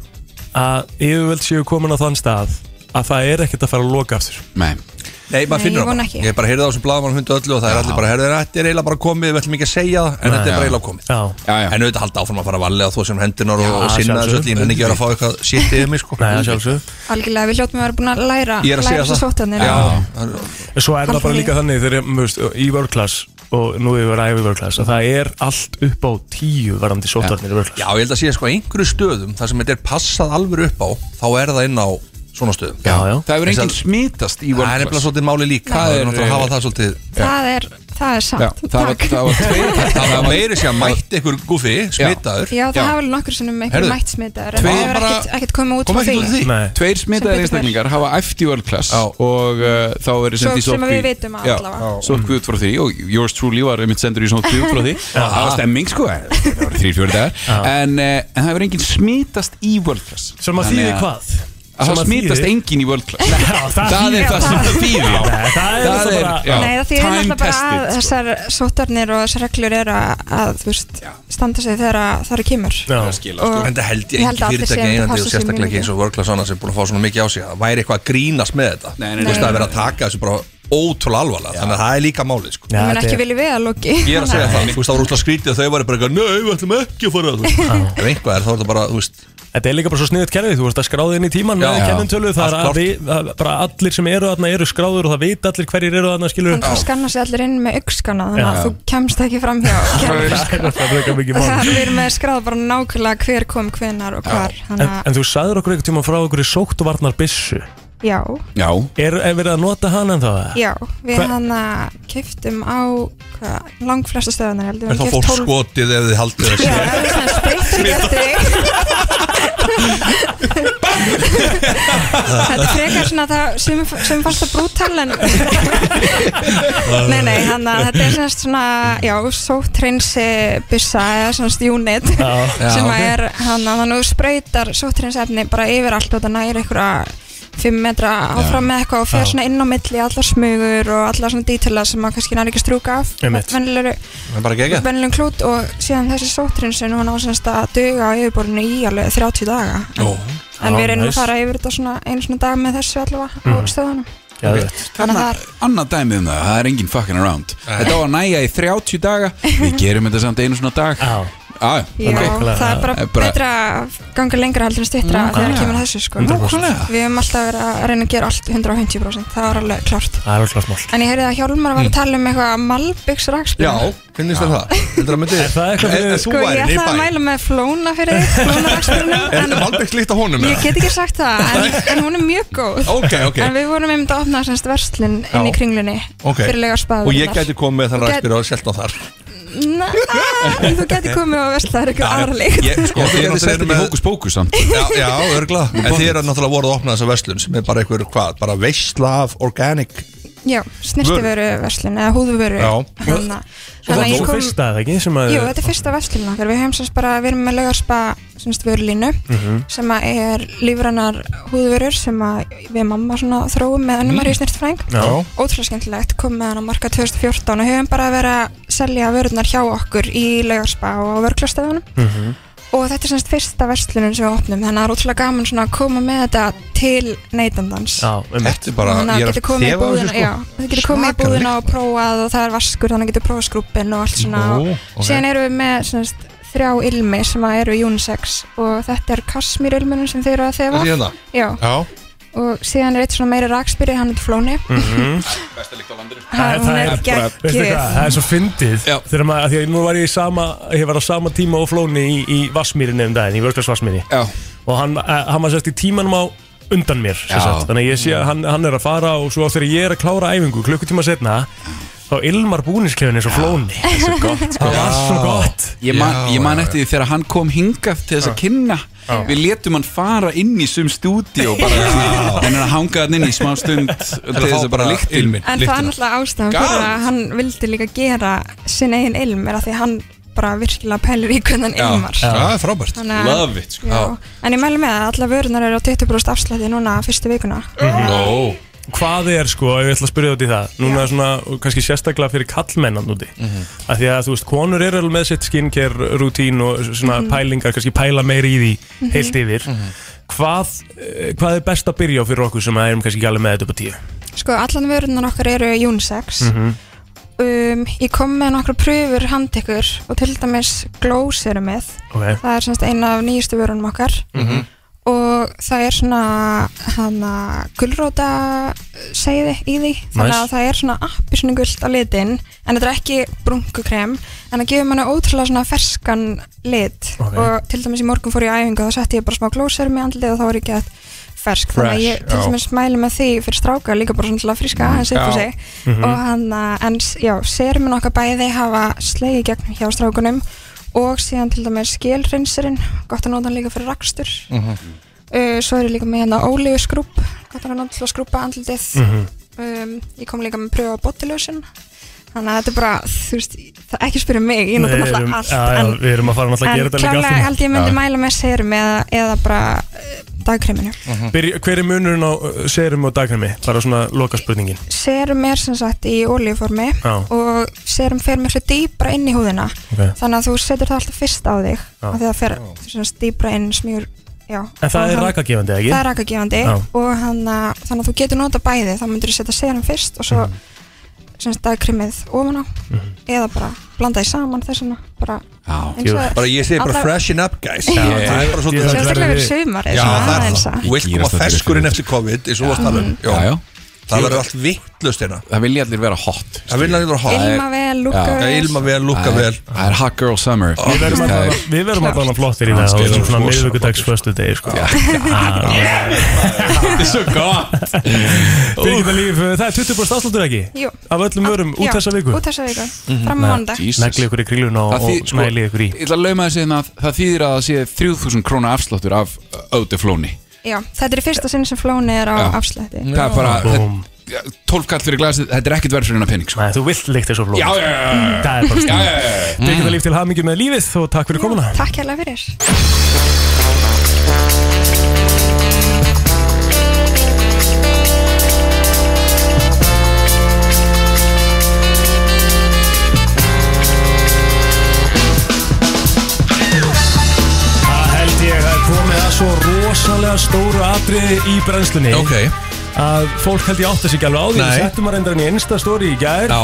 að yfirvöld séu komin á þann stað að það er ekkert að fara að loka aftur Nei, Nei, Nei, maður ég finnur það vona bara ekki. Ég hef bara heyrði á þessum blaðamann hundu öllu og það er allir bara Herðu, þetta er eiginlega bara komið, við ætlum ekki að segja það En þetta er bara eiginlega komið Já, já, já En auðvitað halda áfram að fara að valja á þú sem hendunar og, og sinna þessu sjálfsögðu. öll Ég nenni ekki að vera að fá eitthvað shit yfir mig sko nei, það sjálfsög algjörlega, við hljóttum að vera búin að læra Ég er Ah, læra að segja þessu það sóttanir Já, Svo er það bara líka þannig þegar ég, veist, í world class og nú hefur verið æfi world class að það er allt upp á tíu varandi sótvarnir í world já, class ég held að sé sko einhverju stöðum þar sem þetta er passað alveg upp á Þá er það inn á svona stöðum Já, já. Það hefur Þess enginn að- smitast í Það er World nefnilega Class svolítið máli líka Það er- Það eh, er náttúrulega að hafa það svolítið það er, það er Já, satt, það var, takk það var tveir Það var meiri sem mætti einhver guffi, smitaður Já, það Já. hafa alveg nokkur sinnum einhver Heyrðu, mætt smitaður en tveir það hefur bara- ekkert, ekkert komið út Kom frá ekki út af því Nei, Tveir smitaðir Sem betur fer. einstaklingar hafa æft í World Class Já. og uh, þá Svo- verið sendið sem að við vitum að allavega. Sótkvíð út frá því og yours truly var einmitt sendur í sótkvíð út frá því Það var stemming sko, það voru þrýr fjóri dagar en, uh, en það hefur enginn smitast í World Class sem að Þannig þýði hvað? Að það Sem smitast þýðir- enginn í World Class Já, það Það þýðir er það sem það þýðir Nei, það er það bara- já, Nei, það þýðir time náttúrulega bara að tested, sko. þessar sóttarnir og þessar reglur eru að, að þú veist, standa sig þegar að það eru kemur Já. skila, Og- sko. En það held ég Ég held ekki að allir séu fyrirtæki að einandi og passa sig sérstaklega mjög ekki eins og World Class annars sem er búin að fá svona mikið á sig að það væri eitthvað að grínast með þetta Nei, nei, Þú veist nei. það er verið að taka þessu bara ótrúlega alvarlega þannig að það er líka málið sko Já, Ég mun þetta ekki er- vilja við að loki Ég er að segja það, þú veist það voru útla skrítið og þau væri bara eitthvað Nei, við ætlum ekki að fara þú veist. Ef einhvað er þá er það bara, þú veist Þetta er líka bara svo sniðut kerfið, þú veist að skráði inn í tíman Já. með kennintölu, það er Allt klárt. að við, að- bara allir sem eru þarna eru skráður og það veit allir hverjir eru þarna skilur Þannig að það skanna sig allir inn með augskana þannig að þú kemst ekki fram hjá kemur. Það er alltaf frekar mikið og mál. það er verið með skráð bara nákvæmlega hver kom hvenar og hvar En, þannig að en þú sagður okkur einhvern tíma frá okkur í sóktvarnar bissu Já, Já, Er, er verið að nota hana en það? já, við Hva- hann að keftum á hvað, langflesta stöðunar heldur Er þá fólk skotið ef þið haldið þessi Já, það er svona sprittar eftir þig Þetta er frekar svona það sem, sem fannst það brútal en Nei, nei, þannig að þetta er svona, svona já, sóttrinsi byssa eða svona unit Já. sem ok. að er hann að þannig sprautar sóttrinsefni bara yfir allt og það næri einhverja fimm metra áfram með eitthvað og fer svona inn á milli allar smugur og allar svona dítila sem að kannski næri ekki að strúka af Einmitt. venjulegri- Það er bara gegja venjulegum klút og síðan þessi sóttrinsin hún á semst að duga á yfirborðinu í alveg 30 daga en Já, við reynum nice. Mhm. að fara yfir þetta svona einu svona dag með þessu allavega á stöðunum Já, okay. þannig að það er annað dæmið um það, það er engin fucking around Nei. Þetta á að næja í 30 daga Við gerum þetta samt einu svona dag Já, ah, Já, Nákvæmlega. það er bara, Það er Eh, Eh, bara- betra að ganga lengra heldur en stýttra Nákvæmlega. þegar það kemur að þessu sko. 100%. Við höfum alltaf verið að reyna að gera allt 150%, það var alveg klárt. það er alltaf smál En ég heyrði að Hjálmar var að tala um eitthvað malbyggs Já, rakspínu. finnst þér það? Heldur að myndi Er það eitthvað fyrir- Ef þú Sko, ég væri ætlaði í að bæ mæla með flóna fyrir þig, flóna Er þetta rakspínunum, Malbeks líkt á honum? en eða? ég get ekki sagt það, en, en hún er mjög góð. Ok, ok En við vorum einmitt að opna semst verslun inn í Já. kringlunni Ok. fyrir lega spaður. Og ég gæti komið með þann Gæti- rættur og selt á þar Næ, þú ah, gæti komið og veist það er eitthvað Já, já. aðra líkt. Ég, sko, Já, þið þið erum eru náttúrulega þetta með í hókus pókus samt Já, já, örgla En þið eru náttúrulega voruð að opna þessa verslun sem er bara einhver, hvað, bara veistla af organic Já, snirtivöru verslun eða húðuvöru Já. Hanna, Það hanna er ég svo kom, fyrsta, eða ekki? Sem að Jú, þetta er fyrsta verslun okkar Við hefum semst bara, við erum með laugarspa semst vörulínu sem að er lífrannar húðvörur sem að við mamma svona þróum með önnum að mm. snirtfræng Já. Ótrúlega skemmtilegt, kom með hann á marka 2014 og höfum bara verið að selja vörurnar hjá okkur í laugarspa og vörglastöðunum Mhm. og þetta er semst fyrsta verslunum sem við opnum þannig að það er ótrúlega gaman svona að koma með þetta til neytandans Já, um Þetta er bara, þannig að ég það er getur að komið í þefa búðina þessu já, sko það getur komið í Svakalega búðina og prófað og það er vaskur þannig að getur prófað skrúppin og allt svona Ó, og ok. síðan erum við með svona, þrjá ilmi sem að eru unisex og þetta er kasmir ilmunum sem þeir eru að Það þefa sé hérna já, Já, og síðan er eitt svona meiri rakspyrri hann er flóni Besta líkt á landinu Mhm. Það- hann er það bara- er Veistu geggjöð hvað, það er svo fyndið Já. Þegar maður, af því að nú var ég í sama Ég var á sama tíma og flóni í, í Vassmýrinni um daginn, í Vörglas Vassmýri Já, Og hann, eh, hann var sérst í tímanum á undan mér sem Já. sagt. Þannig að ég sé að hann, hann er að fara Og svo þegar ég er að klára æfingu klukkutíma setna Þá ilmar búningsklefin eins og flóni það er gott sko. Það var svo gott Ég man, Já, ég man já, eftir því þegar hann kom hingað til þess að kynna Við letum hann fara inn í sum stúdíu bara En hann hangaði hann inn í smá stund Til að þess fá að bara bara líkt til en ilminn. það er Lyktina. náttúrulega ástæðan fyrir Gaman. að hann vildi líka gera sinn eigin ilm er að því að hann bara virkilega pælir í hvernig hann ilmar það er frábært Þannig að- Love it, sko. Já. En ég mælu með að alla vörunar eru á 20% afslætti núna fyrstu vikuna Ó, hvað er sko, ef ég ætla að spyrja út í það núna er svona, og kannski sérstaklega fyrir kallmennan úti, Mhm. af því að þú veist konur eru alveg með sitt skincare rútín og svona Mhm. pælingar, kannski pæla meiri í því heilt yfir hvað, eh, hvað er best að byrja á fyrir okkur sem að erum kannski ekki alveg með þetta upp á tíu Sko, allan vörunar okkar eru unisex Mhm. um, Ég kom með nokkra pröfur hand ykkur og til dæmis glows eru með ok, Mhm. Það er semst eina af nýjustu vörunum okkar og það er svona hana gulróta segði í því þannig að Nice. það er svona appi svona gullt á litin en þetta er ekki brunkukrem en það gefur manni ótrúlega svona ferskan lit Ok. og til dæmis í morgun fór ég á æfingu og þá setti ég bara smá glósir með andlið og þá var ég gett fersk þannig að ég til já. dæmis mæli með því fyrir stráka líka bara svona til að friska aðeins upp á já. sig Mhm. og hann að, en s- já, serumin okkar bæði hafa slegið gegn hjá strákunum og síðan til dæmis skilreinserinn, gott að nota hann líka fyrir rakstur uh, svo er ég líka með hérna ólíu skrúb, gott að nota til að skrúpa andlitið Mhm. um, ég kom líka með pröfu á botilösun þannig að þetta er bara, þú veist það ekki spyrja mig, ég nota Við náttúrulega erum- allt já, já, en, við erum að fara náttúrulega að en gera þetta líka klálega aftur held ég myndi mæla með serum eða, eða bara uh, dagkreminu Byrja- hver er munurinn á eh, serum og dagkræmi bara svona loka spurningin serum er sem sagt í olíuformi Já. og serum fer miklu dýbra inn í húðina Ok. þannig að þú setur það alltaf fyrst á þig Já. af því það fer sem sagt, dýbra inn smjúr já, en það Og er hann- rakagefandi, ekki? það er rakagefandi Já. og hann, að- þannig að þú getur nota bæði þá myndir þú setja serum fyrst og svo Mhm. mm. sem sagt dagkrimið ofan á eða bara blanda því saman þess vegna bara Já, eins og bara ég segi bara Alla- freshen up guys Já. Það er bara Ég- svolítið Ég- sérstaklega verið sömarið Já, svona það aðeins er að- það Þú vilt koma ferskurinn eftir COVID eins og þú varst að tala um já, já Já. Það verður allt vittlust hérna Það vilja allir vera hot Það vil að þetta Ilm- hafa Ilma vel, lukka Já. Það vel ilma vel, lukka Það vel er- Það er hot girl summer Við verðum að Það er- fara- við verðum að dana flottir í það Kannski og er svona það svona rosa miðvikudags föstu degi sko Þetta er svo gott Birgitta Líf, það er 20 búrst afsláttur ekki? Jú. Af öllum vörum út Já, þessa viku? Út þessa viku, fram á mánudag Jesus. Negli ykkur í kríluna og, Það þýð- og sko, smæli ykkur í Ég ætla að lauma þessi að það þýðir að það sé 3000 króna afsláttur af uh, Ödeflóni Já, þetta er í fyrsta sinn sem flóni er Já. á afslætti Það er bara Búm. þetta- 12 kall fyrir glasið, þetta er ekkert verð fyrir hennar penning sko. Nei, þú vilt líkt þessu flóð Já, já, já, já, já. Það er bara já, stund já, já, já. Birgitta Líf til hamingjum með lífið og takk fyrir komuna Takk hérlega fyrir Það held ég að komið að svo rosalega stóru atriði í brennslunni Ok, að fólk held ég átt þessi ekki alveg á því Nei. við settum að reynda hann í einsta stóri í gær já,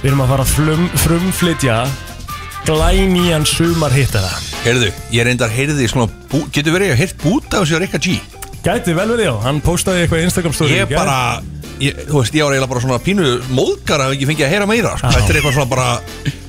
við erum að fara að flum, frumflytja glænían sumar hittara heyrðu, ég reyndar heyrði í svona, bú, getur verið að heyrt búta á sig á Rikka G gæti vel verið já, hann postaði eitthvað í Instagram stóri Ég í gær bara, ég, þú veist, ég var eiginlega bara svona pínu móðgar að ekki fengi að heyra meira sko. Já. Þetta er eitthvað svona bara,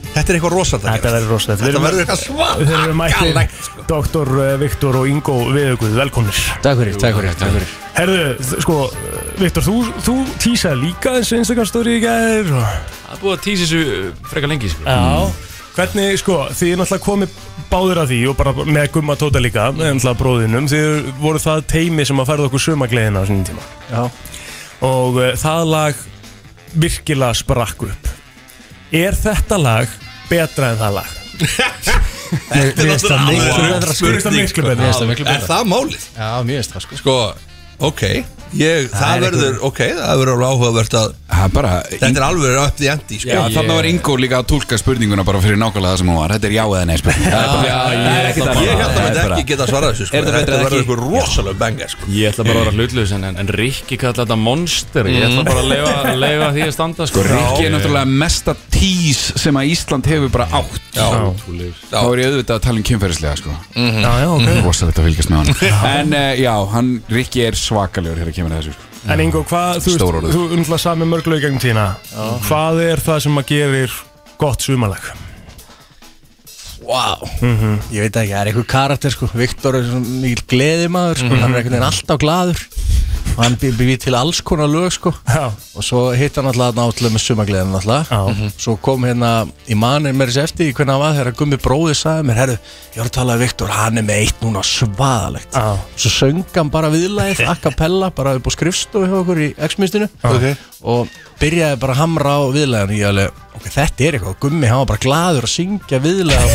þetta er eitthvað rosalega þetta verður rosalegt Þetta verður eitthvað sko. svart þeir eru mættir Dr. eh, Viktor og Ingo Viðuguð, velkomnir Takk fyrir, takk fyrir, takk fyrir Herðu, þ- sko, eh, Viktor, þú, þú tísaði líka eins og Instagram story í gær og... Það er búið að tísa þessu frekar lengi sko. Já Hvernig, sko, þið er náttúrulega komið báður að því og bara með Gumma Tóta líka, með náttúrulega bróðinum þið voru það teimi sem að færða okkur sumagleðina á sinni tíma Já. Og uh, það lag virkilega sprakk upp Er þetta lag betra en það lag? Þetta Mér finnst það náttúrulega alveg miklu betra, sko. Mér finnst það miklu betra. Mér finnst það miklu Er betra. það málið? Já, mjög veist það sko Sko, ok Ég, það, er verður, ok, það verður alveg áhugavert að Það er bara Þetta er alveg upp því endi, sko Já, þarna var Ingo líka að tólka spurninguna bara fyrir nákvæmlega það sem hún var Þetta er já eða nei spurning Það er bara- það er ekkert annað. Ég held að Það er þetta bara- ekki geta svarað þessu sko. Er þetta betra Þetta en verður ekki? eitthvað rosalega benga sko. Ég ætla bara að vera hlutlaus en, en Rikki kalla þetta monster Ég ætla bara að leifa, leifa því að standa sko. Mm. Rikki er náttúrulega mesta tís sem að Ísland hefur bara átt Já, náttúrulega Þá er ég auðvitað að tala um kynferðislega sko Mhm. Já, já, ok Rosalegt að fylgjast með hann En uh, já, hann Rikki er svakalegur þegar kemur að þessu sko En Ingo, hvað, þú Stór orð. veist, þú umhlað sami mörglau í gegnum tína Hvað er það sem að gerir gott sumalag? Wow Mhm. Ég veit ekki, það er einhver karakter sko Viktor er svona mikil gleðimaður sko. Mhm. Hann er einhvern veginn alltaf glaður Og hann býr bý til alls konar lög sko Já, Og svo hitt hann alltaf náttúrulega með sumagliðan alltaf Já. Svo kom hérna í manir mér þess eftir í hvernig hann var Þegar Gummi bróði sagði mér Herru, ég var að tala við Viktor, hann er með eitt núna svaðalegt Já. Svo söng hann bara viðlæð, a cappella Bara upp á skrifstofu hjá okkur í X-mistinu Ok. Og byrjaði bara að hamra á viðlæðan Ég alveg, ok, þetta er eitthvað Gummi, hann var bara glaður að syngja viðlæð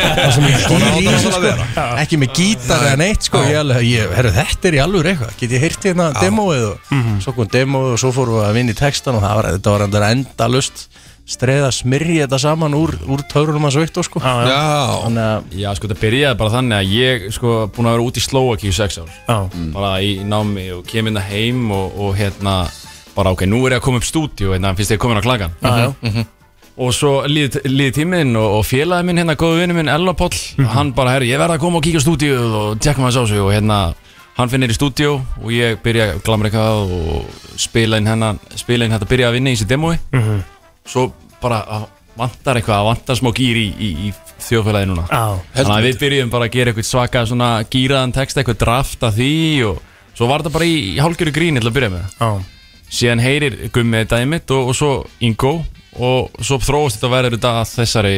Það sem ég Svona á gýr í þetta þessu að sko vera. Ekki með gítar eða neitt sko Ég alveg, ég, herru, þetta er í alveg eitthvað Get ég heyrt hérna demóið og Svo kom demóið og svo fórum við að vinna í textan Og það var, þetta var endur endalust Streið að smyrja þetta saman úr, úr törunum að sveikta sko já, já, Já, Þannig að Já, sko, það byrjaði bara þannig að ég, sko, búin að vera út í Slovaki í sex ár já. Mm. Bara í námi og kem inn að heim og, og hérna Bara, ok, nú er ég að koma upp stúdíu, hérna, finnst ég komin á Mhm. klagan já. Og svo líði líð tíminn og, og félagi minn, hérna, góðu vinnu minn, Elva Póll Hann bara, herri, ég verð að koma og kíka á stúdíu og tjekka maður sá sig Og hérna, hann finnir í stúdíu og ég byrja að glamra eitthvað Og spila inn hennan, spila inn hérna, byrja að vinna í þessi demói Svo bara að, vantar eitthvað, vantar smá gýr í, í, í þjóðfélagi núna Já. Þannig að við byrjum bara að gera eitthvað svaka svona gýraðan text, eitthvað draft að því og svo var þetta bara í, í hálgjöru gríni til að byrja með það. já. Síðan heyrir Gummi þetta einmitt og, og svo Ingo og svo þróast þetta verður þetta að þessari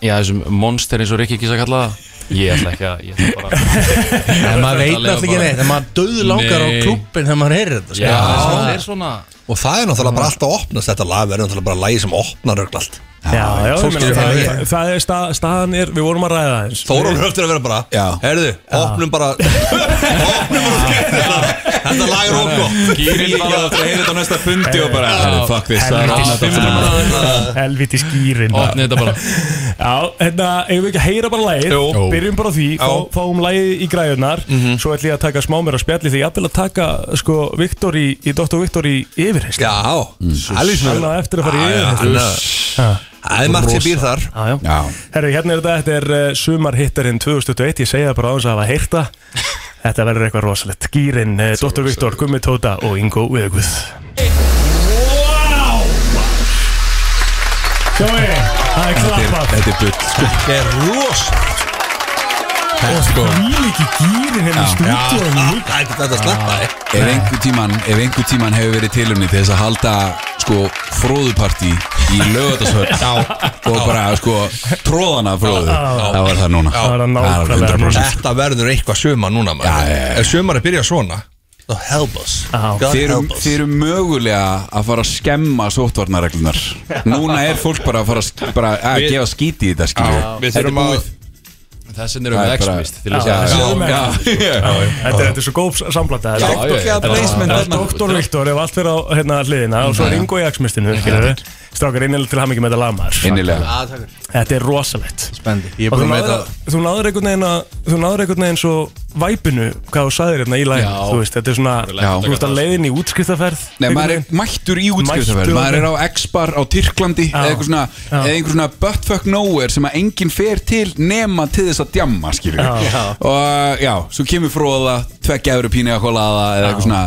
Já, þessum monster eins og Rikki kýsa að kalla það Ég ætla ekki að, ég ætla bara en að maður veit leyfa alltaf ekki bara- neitt En maður döðu langar á Nei. klubbin þegar maður heyrir þetta sko. Já, það er svona og það er náttúrulega bara alltaf að opnast Þetta lag verður náttúrulega bara lagi sem opnar öll allt Já, já, fólk ég meina, gerir það, það það, það er stað, staðan er, við vorum að ræða það eins Þórólf höfður að vera bara Já. Herðu, opnum bara Opnum bara skemmtilega Þetta lag er okko Gýrin var að heyra þetta á næsta fundi og bara "Herru, Fuck this, það er opnað Helviti skýrin. þetta fyrir maður." Helviti skýrin Opnið þetta bara Já, hérna, eigum við ekki að heyra bara lagið Jó. Byrjum bara á því, fá, fáum lagið í græðunar Mhm. Svo ætlum ég að taka smá mér á spjalli Þegar ég ætlum að taka, sko, Viktor í, í Dr. Viktor í yfirheyslu Já, það er svona Hann á eftir að fara í yfirheyslu yfir Það er margt sem býr þar Já, já Já, eh, Herru, hérna er þetta, þetta er uh, sumarhittarinn 2021, ég segja það bara á þess að hafa heyrta Þetta verður eitthvað rosalegt Gýrin, Dr. Viktor, Gummi Tóta og Ingo Viðguð Sjói, það er klappað Þetta er bull sko. Þetta er ros Og sko Mýl ekki gýrin hérna í stúdíónu Ah, Það er ekki þetta að sleppa þig Ef einhver tíman, ef einhver tíman hefur verið tilumni til þess að halda sko fróðupartí í lögatarsvöld og bara sko tróðana fróðu þá er það núna Það var Það er það nákvæmlega 100%. Þetta verður eitthvað suma núna maður Já, já, já. Ef sumar er byrjað svona þá help us Já. God Þeir eru, help us þeir eru mögulega að fara að skemma sóttvarnarreglunar Núna er fólk bara að fara að, sk- bara að gefa skíti í þetta skilju Við þurfum að Þessin eru við extremist til þess Já, já, að já Þetta þetta er svo góð samblanda Já, þetta. já, já, þetta var- placement þetta var- Dr. Viktor ef allt fyrir á hérna hliðina og svo er Ingo í axmistinu Strákar innilega til hamingi með þetta lagmaður Innilega Þetta er rosalegt Spendi Ég er Og þú búin að náður, meita þú náður einhvern veginn að þú náður einhvern veginn svo væpinu hvað þú sagðir hérna í lægin Já. þú veist, þetta er svona, Já. þú veist að leiðin í útskriftaferð Nei, maður er mættur í útskriftaferð Mættur. Maður er á X-bar á Tyrklandi eða einhver svona, Já. eða einhver svona buttfuck nowhere sem að enginn fer til nema til þess að djamma, skilur Já. Já. og já, svo kemur fróða tveggja eðru pínu að kólaða eða eitthvað svona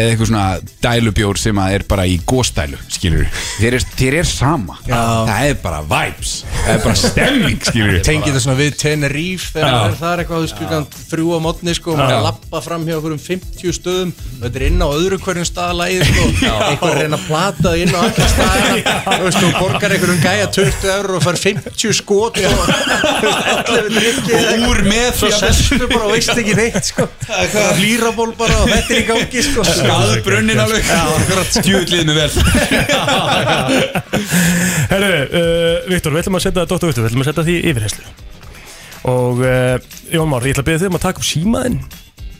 eða eitthvað svona dælubjór sem að er bara í góstælu, skilur þér er, þér er sama, já. það er bara vibes, það er bara stemming, skilur Tengi þetta svona við Tenerife þegar það er þar eitthvað, þú veist, klukkan þrjú á modni sko, og maður er að lappa fram hjá okkur um 50 stöðum og þetta er inn á öðru hverjum staðalæði sko, eitthvað er að reyna að plata það inn á alla staðina, þú veist, og borgar einhverjum gæja 20 eurur og fær 50 skot sko. og þú veist, allir drikki og úr með svo því að sestu bara og veist ekki neitt sko, flýraból bara og þetta er í gangi sko, skaðu brunnin alveg stjúðlið með vel Herru, uh, Viktor, við ætlum að setja Dr. Viktor, við ætlum að setja því í yfirheyslu og uh, Jón Már, ég ætla að byrja þig um að taka upp símaðinn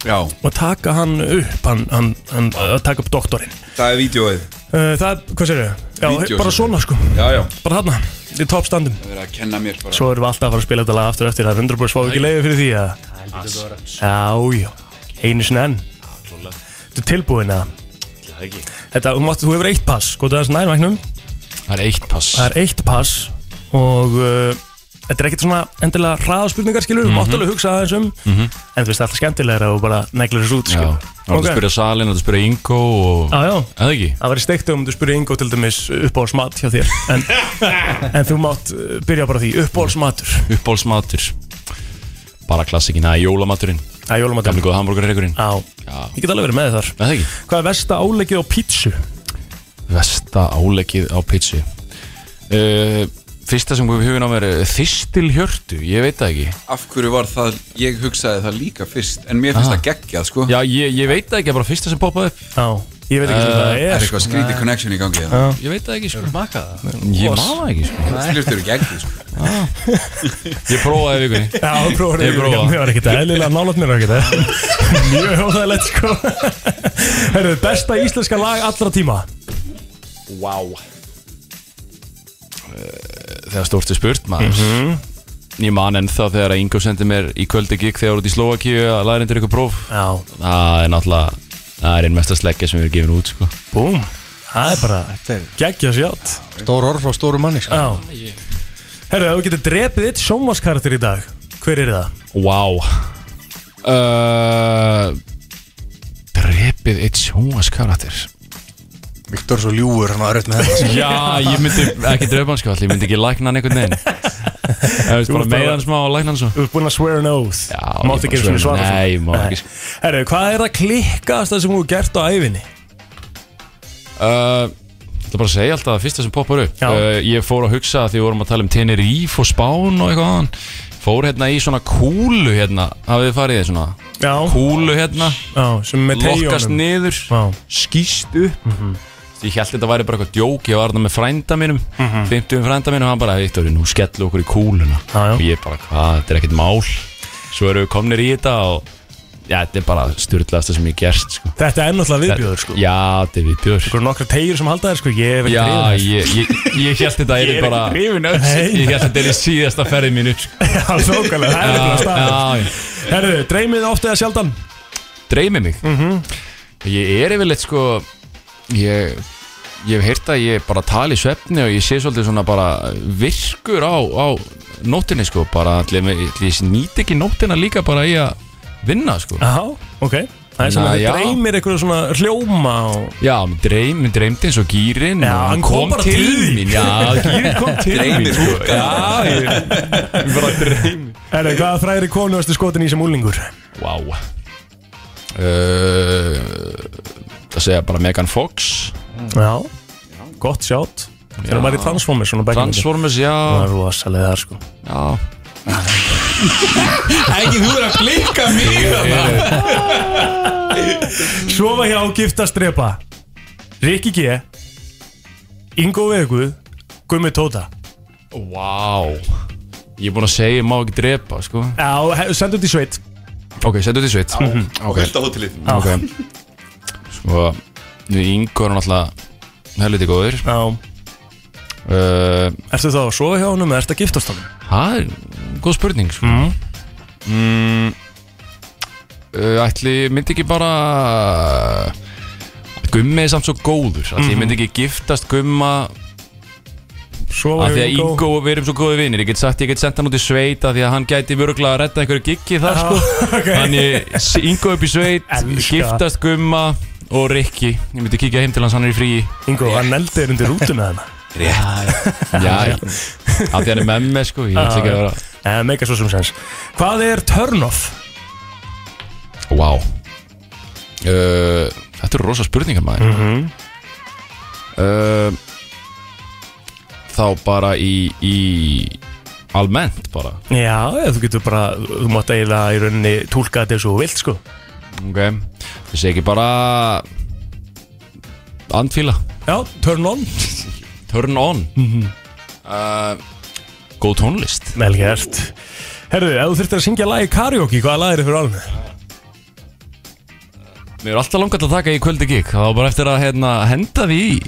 Já, og taka hann upp hann, hann, hann, að taka upp doktorinn það er vídjóið uh, það, er- hvað sér ég? Já, Vídeó, bara sér. svona sko, Já, já, bara þarna í toppstandum, það er að kenna mér bara svo erum við alltaf að fara að spila þetta lag aftur eftir, það er 100% fá ekki leiði fyrir því að Já, já, einu sinni enn Þetta er tilbúin að Þetta, þú, mátt, þú hefur eitt pass, sko, það er nær mæknum Það er eitt pass Það er eitt pass og uh, þetta er ekkert svona endilega hraðaspurningar, skilur, mm -hmm. Mhm. máttalega hugsa aðeins um en þú veist, það er alltaf skemmtilega að þú bara neglir þessu út, Mhm. skilur Já, það er að spyrja Salin, það er að spyrja Ingo og... Já, já, Eða ekki? það væri steikt um þú spyrir Ingo til dæmis uppbólsmat hjá þér en, en þú mátt uh, byrja bara á því, uppbólsmatur Uppbólsmatur Bara klassikinn, það er jólamaturinn Það er jólumatur Gamli góða hambúrgarreikurinn Já, ég get alveg verið með þið þar Eða ekki? Hvað er versta áleggið á pítsu? Vesta áleggið á pizzu uh, Fyrsta sem við hugin á mér er Þistilhjörtu, ég veit það ekki af hverju var það, ég hugsaði það líka fyrst en mér finnst Ah. það geggjað sko Já, ég, ég veit það ekki, það er bara fyrsta sem poppaði upp Já, ég veit ekki sem Eh, það það er er sko. eitthvað skrítið connection í gangi hérna? það Ég veit það ekki, sko Maka það? Ég má það ekki, sko slurft eru geggjuð sko Ah. Ég prófaði vikunni Já, þú prófaði Ég prófa. Mér var ekkert eðlilega nálat mér var ekkert eðlilega. Mjög óþægilegt sko Herðu, besta íslenska lag allra tíma Eh, Þegar stórt er spurt, maður Mhm. Ég man ennþá þegar að Ingo sendi mér í kvöldi gig þegar út í Slovakíu að læra undir ykkur próf Já Það er náttúrulega, það er einn mesta sleggja sem við erum gefin út, sko Búm Það er bara geggja sjátt stór orð frá stóru manni sko. Já Herðu, ef þú getur drepið eitt sjónvarskarakter í dag Hver er það? Vá uh, Drepið eitt sjónvaskarakter Viktor er svo ljúur, hann var auðvitað með þetta Já, ég myndi ekki drepa hann sko allir, Ég myndi ekki lækna hann einhvern veginn Það veist bara ert meða bara- hann smá og lækna hann svo Þú ert búinn að swear an oath Já, Þú Mátt ég ekki bara einu sinni swear- svara Nei, þessu. má ekki. Herðu, hvað er að klikkast það sem þú hefur gert á æfinni? uh, Það er bara að segja alltaf að fyrsta sem poppar upp Já. uh, Ég fór að hugsa að því við vorum að tala um Tenerife og Spán og eitthvað aðan Fór hérna í svona kúlu hérna Hafið þið farið í svona Já, Kúlu hérna, já sem með lokkast teigjónum niður Já. Skýst upp Mhm. Ég held þetta væri bara eitthvað djók, ég var þarna með frænda mínum 50 frænda mínum, hann bara Eittur, nú skellu okkur í kúluna Mhm. Já, já. og ég bara, hvað, þetta er ekkert mál svo eru við komnir í þetta og já, þetta er bara styrlaðasta sem ég hef gert sko. Þetta er náttúrulega viðbjöður sko já, þetta er viðbjör Þú eru nokkra tegjur sem halda þér sko Ég hef ekki já, drifið þær. ég, ég, ég held þetta Ég er er bara ekki drifin af þessu. ég held þetta er í síðasta ferði mín upp, sko. Já, þókala, það er já, ekki að staða já, já. Herðu, dreymið ofta eða sjaldan? Mhm. dreymið mig ég er yfirleitt sko ég ég hef heyrt að ég bara tala í svefni og ég sé svolítið svona bara virkur á, á nóttinni sko bara allir, ég nýti ekki nóttina líka bara í að vinna sko Já, ok Það er sem Na, að já. þið dreymir einhverju svona hljóma og... Já, mér dreym, mér dreymdi eins og gýrin Já, og hann kom bara til þín. mín Já, gýrin kom til mín sko. Já, ég ég bara dreym Erðu, hvaða fræðri konu varstu skotin í sem úlingur? Vá wow. Það segja bara Megan Fox Já, gott sjátt Þegar maður er í Transformers svona back in the day. Transformers, Það já, er rosalega þar sko já. Ekki þú er að blikka mér Sofa hjá giftast drepa Rikki G Ingo Veguð Gummi Tóta Vá Ég er búinn að segja, ég má ekki drepa sko Já, he- sendu þetta í sveit Ok, settu þetta í sveit Mhm. Ok, Þetta hótelið ok Sko, við yngur hann alltaf helviti góður Já uh, Ertu þá að sofa hjá honum eða ertu að giftast honum? Mhm. Það er góð spurning sko. mm. Uh, Ætli ég myndi ekki bara Gummi er samt svo góður Ætli ég Mhm. myndi ekki giftast Gumma Sofa Af því að hjá Ingo og við erum svo góði vinir Ég get sagt, ég get sendt hann út í sveit Af því að hann gæti vöruglega að redda einhverju giggi þar sko ok. Þannig s- Ingo upp í sveit Elska. Giftast Gumma og Rikki Ég myndi kíkja heim til hans, hann er í fríi Ingo, hann eldi er undir rútu með hana Já, af því hann er með mig sko Ég ætla ekki að vera Eða mega svo sem sens Hvað er turn off? Vá uh, Þetta eru rosa spurningar maður Mhm. uh, Þá bara í, í Almennt bara Já, eða þú getur bara Þú mátt eiginlega í rauninni túlka þetta eins og þú vilt sko Ok Ég segi ekki bara Andfíla Já, turn on Mhm. Turn on uh, Góð tónlist Vel gert Herðu, ef þú þurftir að syngja lagi karaoke Hvaða lag er þið fyrir alveg? Mér er alltaf langat að taka í kvöldi gig Það var bara eftir að hérna, henda því í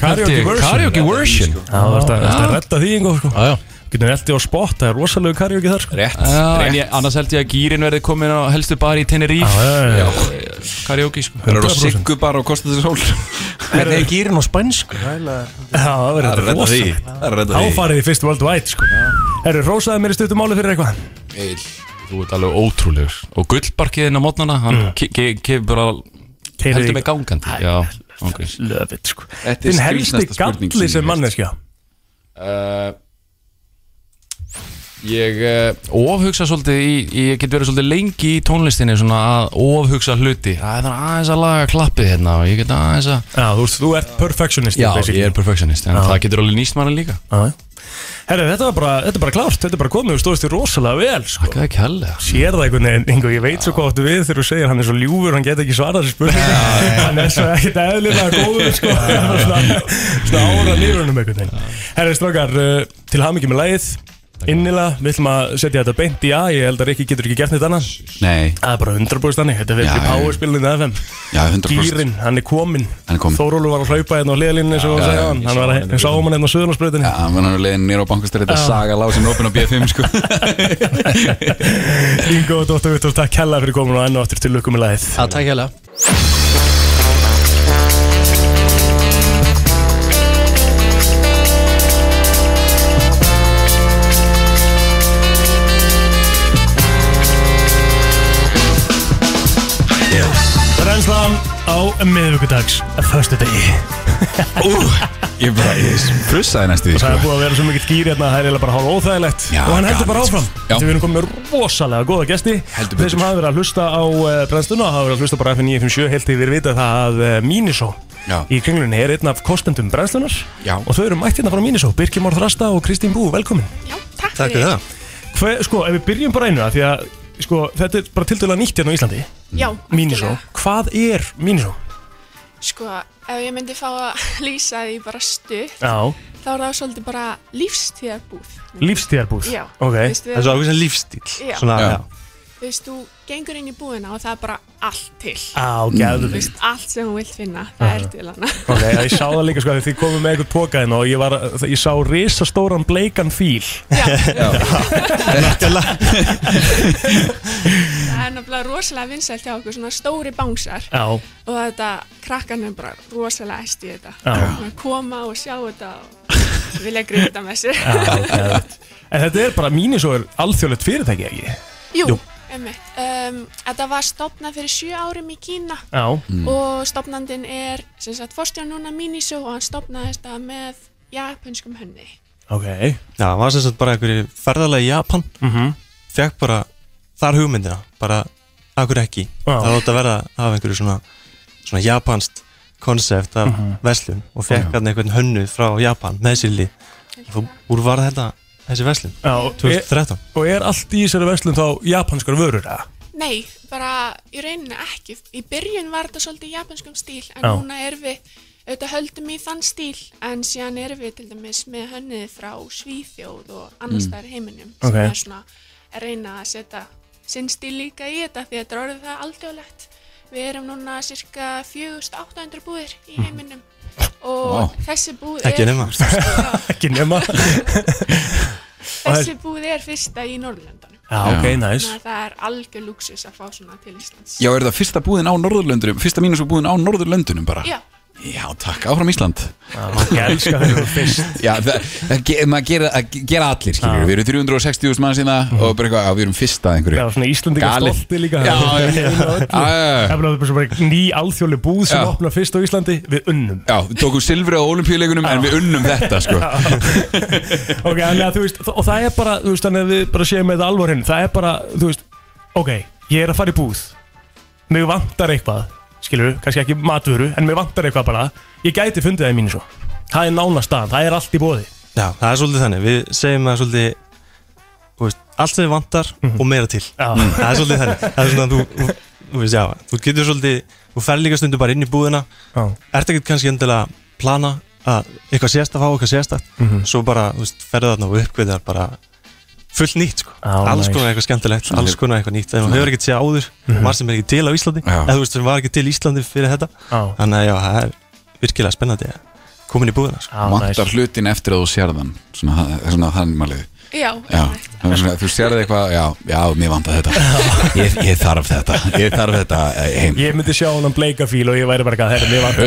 Karaoke version Karaoke version Já, Ah. það varst að, varst að redda því einhver sko Já, já. Getur eldi á spot, það er rosalegu karaoke þar sko Rétt, Já, en rétt ég, annars held ég að gýrin verði komin á helstu bari í Tenerife Eh, já, já. Karaoke sko Það eru að siggu bara og kosta þessi sól Hvernig er gýrin á spænsku? Já, það verður Það er redda þetta því rosalegu Það er redda því Áfarið í fyrst worldwide sko Herru, rósaði mér í stuttum máli fyrir eitthvað Eil, þú ert alveg ótrúlegur Og gullbarkiðin á mótnana Hann mm. kefur bara Keyrið í- Heldur mig gangandi Já, ok Löfitt sko Þetta er Þinn helsti skrýtnasta spurning galli sem sem ég manneskja uh, Ég uh, ofhugsa svolítið í, í- Ég get verið svolítið lengi í tónlistinni Svona að ofhugsa hluti Það er þannig aðeins að laga klappið hérna Og ég get aðeins að Já, þú, veist, þú ert perfectionist Já, ég er perfectionist En það getur alveg nýst manna líka Herru, þetta var bara, þetta er bara klárt Þetta er bara komið og stóðist þér rosalega vel sko Hvað er kjallega? Sér það einhvern veginn, einhver, ég veit svo hvað áttu við þegar þú segir hann er svo ljúfur, hann get ekki svarað þessi spurning hann er svo ekkert eðlilega góður sko, Hann er svona, svona ára nýrunum einhvern veginn Herri strákar, uh, til hamingi með lagið innilega, við ætlum að setja þetta beint í A ég held að Rikki getur ekki gert neitt annað Nei, það er bara 100% þannig, þetta Já, verður já. ekki powerspilinu FM já, 100% Gýrin, hann er komin Hann er kominn. Þórólu var að hlaupa hérna á hliðalínni eins og hún Já, sagði já, ég hann hann var að, ég sá hann hérna á Já, Suðurlandsbröðinni hann var náttúrulega nýra á bankastöri Þetta er saga lág sem er opinn á B5 sko Ingo og Dóttur Vittur, takk hella fyrir komin og enn og aftur til lukkum í lagið Það takk hérlega Renslan á miðvíkudags Föstu degi Ég bara, ég frussaði næstu því Það sko er búið að vera svo mikill gýr hérna að Það er eiginlega bara hálf óþægilegt Já, Og hann heldur gaman, bara sko. Já. áfram Þegar við erum komið með rosalega góða gesti Heldur Þeir betur. sem hafa verið að hlusta á uh, brennstuna Hafa verið að hlusta bara FN957 Helt yfir vita það að uh, Mínisó Já. Í kringlunni er einn af kostendum brennstunar Já. Og þau eru mætt hérna frá Mínisó Birgir Már Þrasta og Kristín Bú, velkomin Já, takk, Takk fyrir það Hve, Sko, ef við byrjum bara einu að Því að sko, þetta er bara tildurlega nýtt hérna á Íslandi Já, Mínisó, algjörlega. hvað er Mínisó? Sko, ef ég myndi fá að lýsa því bara stutt, Já, þá er það svolítið bara lífstíðarbúð. lífstíðarbúð Já, þú Ok. veist, Það er við, svo ákveð sem lífstíl Já. Svona, Já. já. þú veist, þú gengur inn í búðina og það er bara allt til. Á, geðvikt Þú veist, allt sem hún vilt finna, það er til hana. Ok, já, ég sá það líka sko, þegar þið komum með eitthvað pókaðin og ég, var, ég sá risastóran bleikan fíl Það er náttúrulega rosalega vinsælt hjá okkur, svona stóri bánsar Já, og þetta, krakkan er bara rosalega æst í þetta. Já. Svona Koma og sjá þetta og vilja grípa þetta með sér. já, ok En þetta er bara, Mínisó er alþjóðlegt fyrirtæki, ekki? Jú, Einmitt. Um, þetta var stopnað fyrir sjö árum í Kína Já, og stopnandin er sem sagt fórstján núna Miniso og hann stopnaði þetta með japanskum hönni. ok Já, það var sem sagt bara einhverju ferðalagi í Japan mm Mhm. Fekk bara þar hugmyndina Bara, akkur ekki Já. Það átt að verða af einhverju svona Svona japanst konsept af Mhm. verslun Og fekk hann einhvern hönnu frá Japan með sér lið Og þú úr var þetta þessi verslun Já, og er, 2013 og er allt í þessari verslun þá japanskar vörur eða? Nei, bara í rauninni ekki. Í byrjun var þetta svolítið í japanskum stíl en Já. núna erum við, auðvitað höldum í þann stíl en síðan erum við til dæmis með hönnið frá Svíþjóð og annars staðar í heiminum Mm. Ok. sem er svona að reyna að setja sinn stíl líka í þetta því að þetta er orðið það aldjóðlegt. Við erum núna cirka 4800 búðir í Mm. heiminum og þessi búð Ekki er, nema Ekki nema Já, þessi búð er fyrsta í Norðurlandanum. ok, næs Þannig að það er algjör luxus að fá svona til Íslands. Já, er það fyrsta búðin á Norðurlöndunum Fyrsta mínus og búðin á Norðurlöndunum bara Já. Já, takk, áfram Ísland Ég elska þeirra fyrst Já, það, það ge- maður gera, að ge- gera allir skilur. Við erum 360.000 mann sína hérna og bara eitthvað, já, við erum fyrsta að Mhm. Já, einhverju svona Íslandingar Galið. stolti líka Já, já, já. Já, já já, já. Það er bara svona ný alþjóðli búð sem Já. opna fyrst á Íslandi Við unnum Já, við tókum silfri á olimpíuleikunum en við unnum þetta sko Ok, þannig að þú veist, og það er bara, þú veist, þannig að við bara séum með þetta alvorinn Það er bara, þú veist, ok, ég er að fara í búð Mig vantar eitthvað, skilur, kannski ekki matvöru En mig vantar eitthvað bara Ég gæti fundið það í mínu svo Það er nánast staðan, það er allt í bóði Já, það er svolítið þannig Við segjum að svolítið þú veist, Allt sem við vantar og meira til Mhm. Já, það er svolítið þannig það er svona að þú, þú, þú veist, já, þú getur svolítið þú fer líka stundu bara inn í búðina Já. ert ekkert kannski endilega að plana að eitthvað sérst að fá eitthvað sérst að Mhm. svo bara, þú veist, ferðu þarna og uppgöðar bara fullt nýtt, sko Já, alls nice. Mhm. konar eitthvað skemmtilegt, alls konar eitthvað nýtt ef maður hefur ekkert séð áður, var sem er ekki til á Íslandi Já. eða þú veist, sem var ekki til í Íslandi fyrir þetta já, þannig að já, það er virkilega spennandi að koma inn í búðina, sko já, næs Vantar hlutin eftir að þú sérðan Svona, svona þannig maður liði Já, Já, einmitt. það var svona, þú sérði eitthvað, já, já, mér vanda þetta ég, ég þarf þetta, ég þarf þetta eh, heim Ég myndi sjá honan bleika fíl og ég væri bara að herra, mér vantar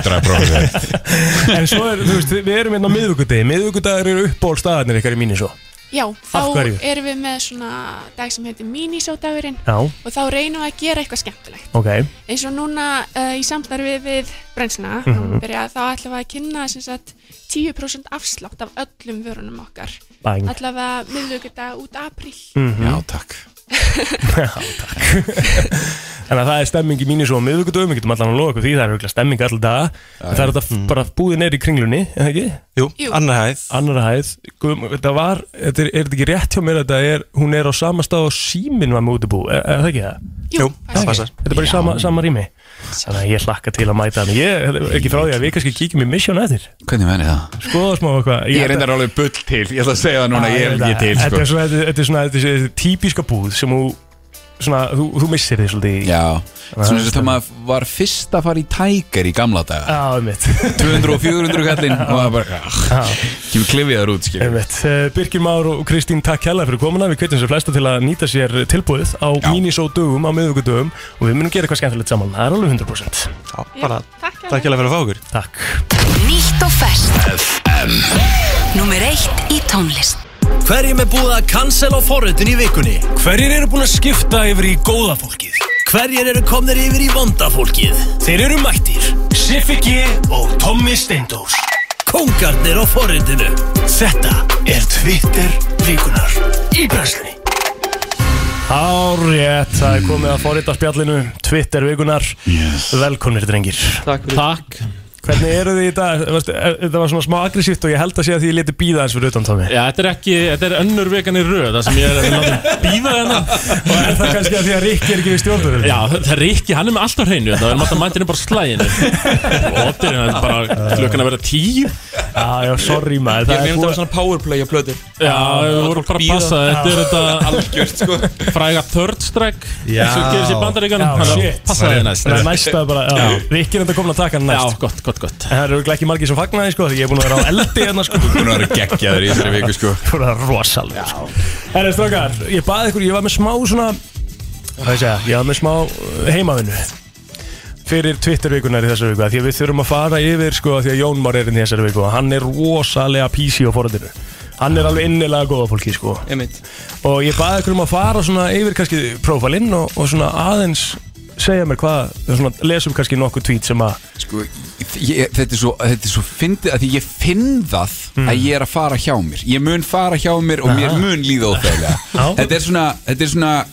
100% 100% En svo er, þú veist, við erum hérna á miðvíkudegi Miðvíkudagur eru uppból staðarnir ykkar í mínu svo Já, þá hverju? erum við með svona dag sem heitir Minisódagurinn Já, og þá reynum við að gera eitthvað skemmtilegt. ok, Eins og núna uh, í samstarfi við brennsluna, mm -hmm. byrja, þá ætlum við að kynna sem sagt, 10% afslátt af öllum vörunum okkar. bang Mhm. Allavega miðlugudag út apríl. Já, takk Þannig að það er stemming í mínu svo á miðvíkudögum Við getum allan að loka ykkur því, það er auðvitað stemming alltaf daga En Það er þetta bara búðin er í kringlunni, eða ekki? Mm. Jú, Jú. annar hæð, Annar hæð, guðum, þetta var, þetta er, er þetta ekki rétt hjá mér að þetta er, hún er á sama stað og síminn var með útibú, er, er það ekki það? jú, passar. það passar Þetta er bara í sama, sama rými Þannig að ég hlakka til að mæta hann Ég er ekki frá því að við kannski kíkjum í Mission eftir Hvernig menni það? Skoða smá eitthvað Ég er reyndar alveg bull til, ég ætla að segja það núna, ég er Þetta- ekki til Þetta sko. er svona, þetta- þetta er svona, þetta er svona típiska búð sem þú, svona, þú, þú missir því svolítið í- Já, svona það þess er að maður var fyrst að fara í Tiger í gamla daga Já, einmitt, 200 og 400 kallinn og það bara, ah, kemur klifiðar út skil einmitt. Eh, Birgir Már og Kristín takk hella fyrir komuna Við kveitum sér flesta til að nýta sér tilbúið á Já. mínisódugum, á miðugudugum og við munum gera eitthvað skemmtilegt saman, það er alveg 100% Já, bara, Takk takk hérlega. hérlega fyrir að fá okkur Takk Nýtt og ferskt FM Númer eitt í tónlist Hverjum er búið að cancel á forritun í vikunni? Hverjir eru búin að skipta yfir í góða fólkið? Hverjir eru komnir yfir í vonda fólkið? Þeir eru mættir, Siffi G og Tommi Steindós Kongarnir á forritinu Þetta er Twitter vikunar Í brensli Árétt, það er komið að forrita spjallinu Twitter vikunar yes. Velkomnir drengir Takk fyrir Takk Hvernig eru þið í dag? Varst- er- Þetta var svona smá aggressíft og ég held að sé að því ég leti býða eins fyrir utan Tommi Já, þetta er ekki, þetta er önnur vegan í röð Það sem ég er að láta býða hérna Og er það kannski að því að Rikki er ekki við stjórnum Já, það er Rikki, hann er með allt á hreinu Það er maður mæntinu bara slæginu Óttir, það er bara klukkan að vera tíu já, já, sorry Ég maður Það er nefndi að það var búið svona powerplay að blödu Já, við vorum bara að passa Þetta er þetta algjört sko Fræga third strike Já. Svo gerir sér bandaríkan Já, shit. Passa þér næst Það er næsta bara já, Rikki er enda komin að taka hann Já, næst gott, gott, En gott það eru örugglega ekki margir sem fagnaði sko Því ég er búin að vera á eldi hérna sko Hún var geggjaður í þessari viku sko Það er rosalega sko. Herri strákar, ég baði ykkur, ég var með smá svona Hvað ég segja, ég var með smá uh, heimavinu Fyrir Twitter-vikunar í þessari viku af Því hérna að við þurfum að fara yfir sko af Því að Jón Már er inn í þessari viku og Hann er rosalega PC á forðinu Hann er alveg innilega góða fólki sko Einmitt. Og ég baði ykkur um að fara svona yfir kannski prófalinn og, og svona aðeins segja mér hvað, svona lesum kannski nokkuð tweet sem að Sko, ég, þetta er svo, þetta er svo fyndið að því ég finn það að ég er að fara hjá mér ég mun fara hjá mér og mér Hmm. Aha. mun líða óþægilega þetta er svona þetta er svona þetta er svona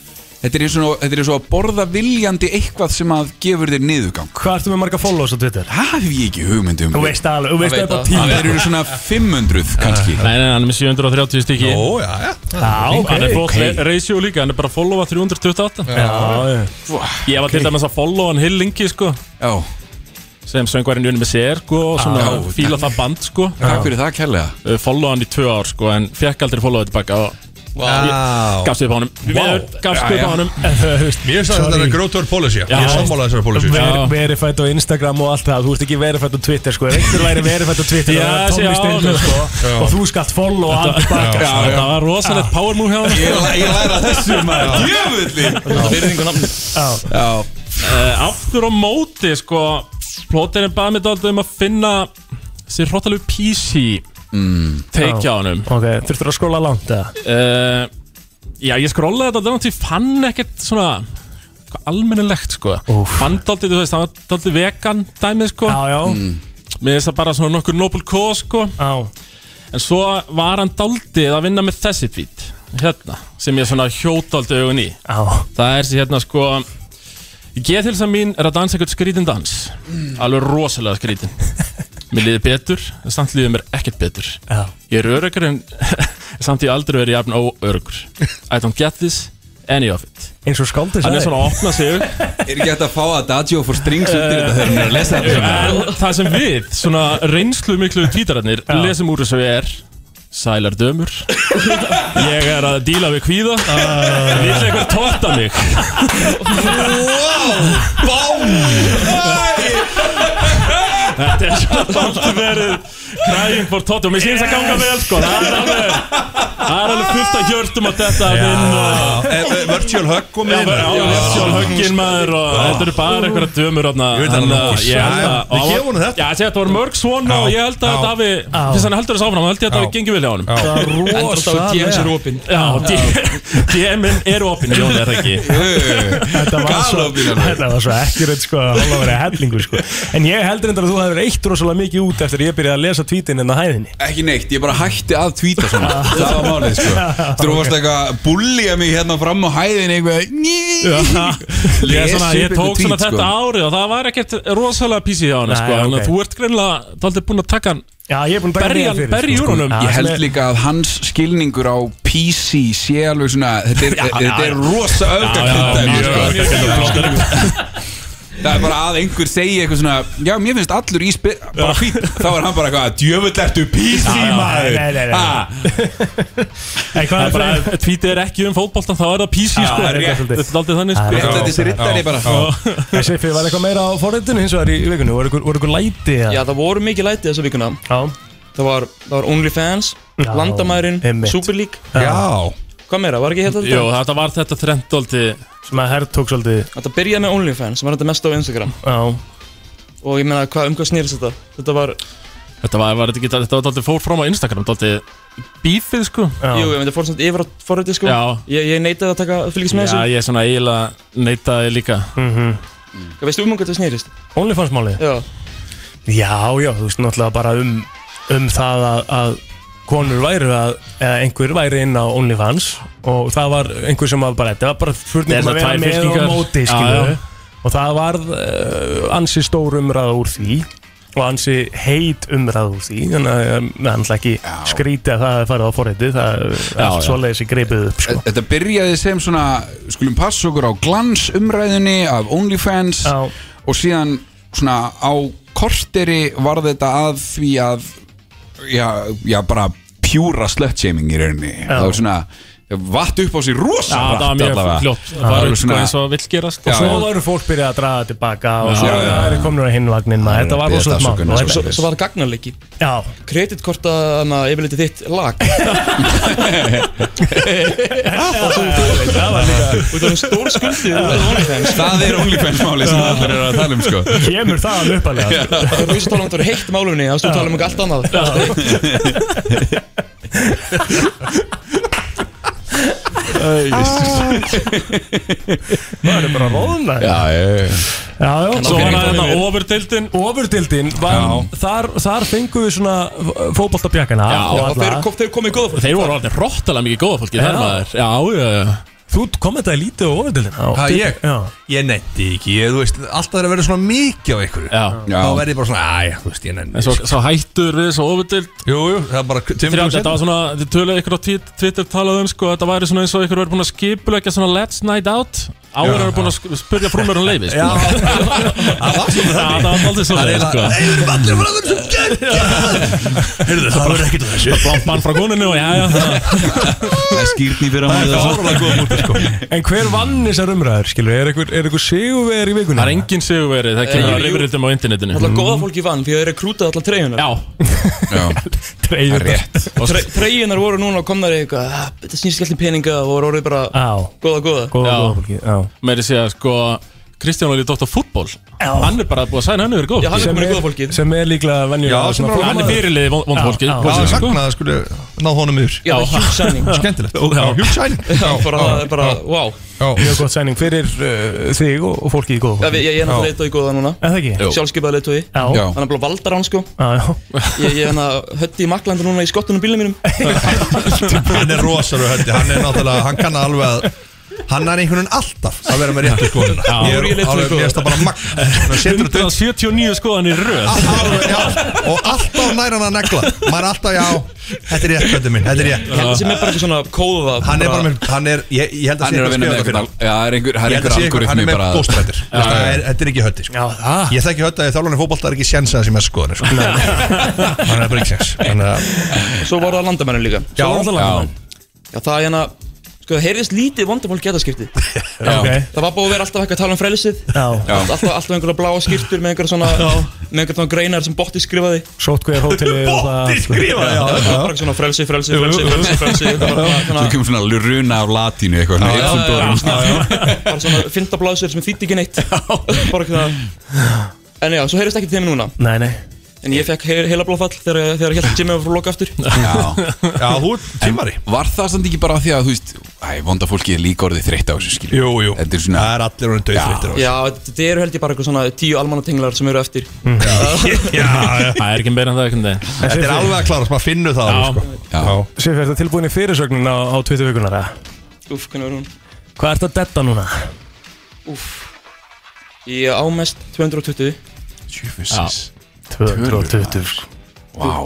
þetta er svona að borða viljandi eitthvað sem að gefur þér niðurgang hvað ertu með marga followers á Twitter? það hef ég ekki hugmynd um Þú veist alveg- þú veist Það veit það upp á tíu. það eru svona 500 kannski Nei, nei, hann er með 730 stykki Jó, já, já ok, Hann er flott ok. okay. ratio líka, hann er bara að followa 328 Já, já. Ég var til dæmis að followa hann Hill Ingi, sko Já Sem söngvarinn Jónum SR, sko Og svona Já, fíla það band, sko Takk fyrir það kærlega Uh, Followa hann í tvö ár, sko En fekk aldrei followa tilbaka og Vá. Gafst upp á honum Viður, Gafst upp á honum Mér finnst að þetta er grótur policy Ég er sammála þessari policy Ver, Verifætt á Instagram og allt það Þú ert ekki verifætt á Twitter sko Ef einhver væri verifætt á Twitter Já, þá er það sé Tommy á Steinlund, honum. sko, Já. Og þú skalt follow hann tilbaka Já, sko. það var rosalegt power move hjá hann Ég- ég læra þessu, maður. Djöfulli Virðingu nafni Já Eh, Aftur á móti, sko Plóterinn bað mér dálítið um að finna Sér hróttalegu PC Mm. Take Já. hjá honum Ok, þurftur að skóla langt eða? Eh, Já, ég skrollaði þetta Þannig að ég fann ekkert svona eitthvað Almennilegt, sko Fann dálítið, þú veist, það var dálítið vegan dæmið, sko Já, já Mér finnst það bara svona nokkur nobel kó, sko Já En svo var hann daldið að vinna með þessi tweet Hérna, sem ég svona hjótaldi augun í Já Það er sem hérna sko Geðhilsa mín er að dansa eitthvað skrítin dans Alveg rosalega skrítin Mér liði betur, en samt liði mér ekkert betur Já. Ég er öryggur en samt ég aldrei verið jafn óöryggur I don't get this, any of it Eins og skáldi Hann er svona að opna sig er ekki hægt að fá að Daggio for strings undir þetta þegar hann er að lesa þetta Eh, En það sem við, svona reynslu miklu tvítararnir, lesum úr þessu er Sælar dömur Ég er að díla við kvíða Vill eitthvað tóta mig Wow, bám Þetta er svona alltaf verið Crying for Totti og mér sýnist að ganga vel sko Það er alveg Það er alveg fullt af hjörtum að þetta að vinna Eh, eh, Virtual hug komið inn uh. Já, sjálf höggin maður og þetta eru bara einhverja dömur þarna. Ég veit að hann er Þannig nokkuð að ég held sæl. að Við gefum honum þetta. Já, ég segi að þetta voru mörg svona og ég held að þetta hafi Fyrst hann heldur þess áfram, þá held ég að þetta hafi gengið vel hjá honum Það er Rosalega. rosalega Já, DM-in eru opinn Jón, er það ekki? Þetta var svo, Galopinarnir. þetta var svo ekkert sko Það var verið hellingur sko En ég heldur endur að þú hefur eitt rosalega mikið út Eftir að ég byrjaði að lesa tweetin en að hæðinni Ekki neitt, ég bara hætti að tvíta svona Það var málið sko Þú varst eitthvað að bullja mig hérna fram á hæðin eitthvað Ný Ég, svona, ég tók svona sko. þetta árið og það var ekkert rosalega písið hjá hann Nei, sko. Þannig ok. að þú ert greinlega daldið búinn að taka hann Já, ég er búin að taka Berja- niður fyrir, berja sko. úr honum. Já, Ég sem held er- líka að hans skilningur á PC sé alveg svona Þetta er, þetta er rosa sko. öfgakvitað Það er bara að einhver segja eitthvað svona Já, mér finnst allur í spil Bara fýtt Þá er hann bara eitthvað Djöfull ertu PC maður Nei, nei, nei, nei. Ha? Nei, Það hvað er er fyrir? bara, tvítið er ekki um fótbolta, þá er það písið sko. það er rétt. Þetta er daldið þannig sko. Réttlætis rittari bara Ég segi fyrir, var eitthvað meira á forritinu hins vegar í vikunni? Voru ykkur- voru ykkur læti? Já. eða? Já, Já, það voru mikið lætið þessa vikuna Það var, það var OnlyFans, Já, Landamærin, einmitt. Super League Já Hvað meira, var ekki hérna þetta? Jó, þetta var þetta þrendóldi Sem að herr tók svolítið Þetta byrjaði með OnlyFans, sem var þetta mest á Instagram Já Og ég meina, hvað, um hvað snýrist þetta? Þetta var Þetta var, var þetta ekki, þetta var dálítið fór fram á Instagram, dálítið bífið sko Já. Jú, ég myndi fór samt yfir á forröti sko Já Ég, ég neitaði að taka, fylgjast með þessu Já, ég svona eiginlega neitaði líka Mhm. Hvað veistu um hvað þetta snýrist? Onlyfans-málið? Já Já, já, þú veist náttúrulega bara um, um það að, að konur væri að, eða einhver væri inn á OnlyFans og það var einhver sem var bara, þetta var bara spurning um Þetta að er vera tvær með og fylkingar. móti, Já, skilu já. og það var uh, ansi stór umræða úr því og ansi heit umræða úr því þannig að um, það er náttúrulega ekki skrítið að það er farið á forrætti, það er allt já. svoleiðis í greipið upp, sko Þetta byrjaði sem svona Skulum passa okkur á glans umræðinni Af OnlyFans Já, Og síðan svona á korteri Var þetta að því að Já, já bara Pjúra slutshaming í rauninni Það var svona Vatt upp á sig rosa Já, það var hratt mjög allavega. fljótt. Það Það var var sko svona eins og vill gerast. og Já, svo já. varu fólk byrjað að draga tilbaka og svo Já, já, já. eru komin á hinvagnin maður, þetta var Biðjast rosalegt mál afsökunar, og sko. þetta- Svo var það gagnarleiki Já, Kreditkorta, þannig að yfirleiti þitt lag það var líka Og það er stór skuldið Það er OnlyFans máli sem allir eru að tala um sko kemur það alveg uppalega Það er rosa tala um að það er heitt málunni Það er stór tala um eitthvað allt annað Það er bara róðunlega Já, já, já Já, já, En svo ok, var það komið hérna við. ofurdildin Ofurdildin, var- þar, þar fengum við svona fótboltabjakana Já, og alla. þeir komið í góða fólk Þeir voru alveg rottalega mikið góða fólki Já. þar maður Já, já, já Þú kommentaði lítið á ofurdildina Ha, ég? Ég nefndi ekki, ég, þú veist, alltaf er að vera svona mikið á ykkur Já Þá verð ég bara svona, æja, þú veist, ég nefndi En svo, svo hættur við þessu ofundild Jú, jú, það er bara tveimur Þrjá, dögum þetta seinna. var svona, þið töluðu ykkur á Twi- Twitter talað um sko, þetta væri svona eins og ykkur verið búin að skipulegja svona let's night out Áður Já, eru búin að sk- spyrja frúmur um leiði sko. Já. Það var svona Það var aldrei svona Það er sko. eiginlega- Eiður allir frá þessu Heyrðu, það var ekkert þessu Það blant mann frá konunni og já, já Það er skýrni fyrir að maður Það er góða mútið sko En hver vann þessar umræður, skilur, er einhver, er einhver sigurvegar í vikunni? Það er engin sigurveri, það Eh, kemur jú. reyfrildum á internetinu Alla Góða fólki vann því að þeir rekrútaði allar treyjunar Já Treyjur Rétt Treyjunar voru núna og komnar í eitthvað "Ah, Þetta snýst ekki allir peninga og voru orðið bara Góða, góða Já. fólki, já Meiri segja, sko, Kristján Óli Dóttar fútból Hann er bara búið að sæna hann yfir góð Já, hann er komin í góða fólkið Sem er líklega venjulega Já, sem er alveg- Hann er fyrirliði von- vonda fólkið. Já, Vonda það er fólkið. saknað að skuli ná honum yfir Já, það er huge signing. Skemmtilegt Já. Huge signing Já, bara, það er bara, wow Mjög gott sæning fyrir uh, þig og, og fólki í góða Já, við- ég, ég er náttúrulega leitói í góða núna Er það ekki? Jú. Sjálfskeipaði leitói Já. Já. Hann er bara valdar hann sko Já, já Ég, ég er hann að hötti í maklandur núna í skottunum bílum mínum Hann er rosalur höndi, hann er náttúrulega, hann kann alveg að Hann er einhvern veginn alltaf að vera með réttu skoðuna Já. Ég er Ég er leiðtogi alveg, mér góða. finnst það bara magn Hann setur þetta 179 skoðan í röð upp og alltaf nær hann að negla Maður er alltaf, já, þetta er rétt höndi minn, þetta er rétt Hann sem er bara eitthvað svona kóða Hann er bara með, hann er, ég, ég held að Hann er sé að eitthvað vinna með skrifað eitthvað Já, það er einhver fyrir hann. Ég held að sé eitthvað, hann er með góstrættir Já, já, já. Þetta er ekki höndi sko. Ég þekki höndi að í þjálfarni fótbolta er ekki sjens að það sem er skoðanir sko. Hann er bara ekki sjens Þannig að Svo voru það landamennir líka Já. Svo voru það Já. landamennir Já, það er hérna Sko, það heyrðist lítið vondamál getaskipti Já. Ok. Það var búið að vera alltaf eitthvað að tala um frelsið Já. Já. Alltaf, alltaf einhverja bláa skýrtur með einhverja svona Með einhverja svona greinar sem Botti skrifaði Sótkveðar hóteli Bótti Já, það var bara svona frelsi, frelsi, frelsi, frelsi, frelsi þetta var bara Svo kemur svona luruna af latínu eitthvað Já, já, já, svona já, já. Bara svona fynda blásur sem þýtti ekki neitt Bara ekki það En já, svo heyrðist ekki til þeim núna Nei, nei En ég fekk he heila blóðfall þegar, þegar hérna Jimmy var frá loka aftur Já, þú er tímari Var það samt ekki bara af því að þú veist Æ, vonda fólki er líka orðið þreytt á þessu skilur Jú, jú Þetta er svona Það er allir orðin döðþreyttir á Já, þetta eru held ég bara eitthvað svona tíu almannatenglar sem eru eftir Já, Það er ekki meira en það einhvern veginn Þetta er alveg að klára, maður finnur það alveg, sko. Já. Sif, er þetta tilbúin í fyrirsögnin á, á 20 vikunar, eða? Úf, hvernig var hún? Hvað ert að detta núna? Úf Ég á mest 220 Jöfus 220 sko. Vá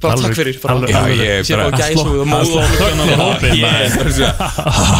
Bara Alveg- takk fyrir bara alveg- takk alveg- Já, fyrir. ég er Sér bara- á gæsúð og móð og Þögn í hópinn, maður.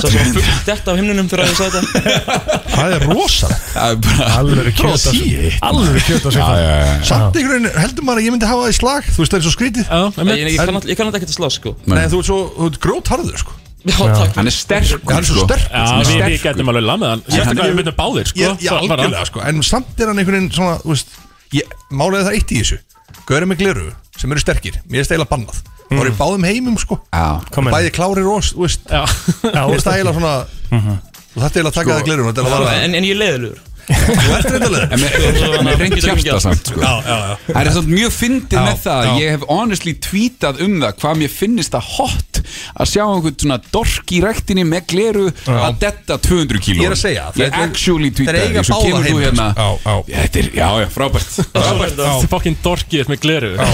Svo sem fullt þetta á himnunum þegar ég sagði þetta Það er rosa Það er bara Alveg kjöt að Shit. Alveg kjöt að Já, já, já. Samt einhvern veginn, heldur maður að ég myndi hafa það í slag Þú veist það er svo skrítið Ég- Ég ég kann alltaf- ég kann alltaf ekkert að slá sko Nei, þú ert svo, þú ert grótharður sko Já, takk Hann er sterkur Hann er svo sko. sterkur. Já, Hann er við, við sterkur. getum alveg lamið hann Sérstaklega við myndum báðir, sko Ég, ég Bara- bara- algjörlega sko, en samt er hann einhvern veginn svona, þú veist ég, Málega það er eitt í þessu Gauður með gleru sem eru sterkir, mér er steila bannað Það voru í báðum heimum sko Já Kom inn. Bæði klárir og, þú veist Mm. Já, Mhm. Mér er steila svona Þú þarf eiginlega að taka það gleru Þetta er að vara Sko, En en ég er leiðilegur Þú ert reyndalega En með- með reynd hjarta samt sko. Það er samt mjög fyndið Já, með það já. að Ég hef honestly tweetað um það Hvað mér finnist það hot Að sjá einhvern svona dork í rektinni með gleru Að detta 200 kíló Ég er að segja, Ég þeir- actually tweetaði þeir því, eiga Svo báða kemur þú heima, hérna sko. Já, já. Þetta er, já, já, frábært Þú ert fokkin dorkið með gleru hérna.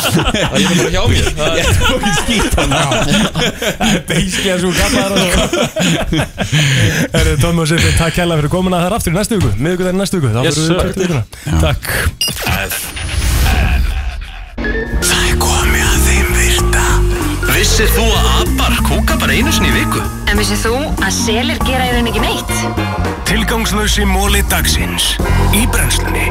Það er bara hjá mér Það er- Beiskja svo gammaðar Erðu Tómi og Sif, takk hella fyrir komuna Það er aftur í næstu viku, miðvikudaginn í næstu viku Þá Yes, verður sir. við 20 vikuna Takk Það er komið að þeim virta Vissir þú að abar kúka bara einu sinni í viku? En vissið þú að selir gera í raun ekki neitt? Tilgangslösi móli dagsins Í brennslunni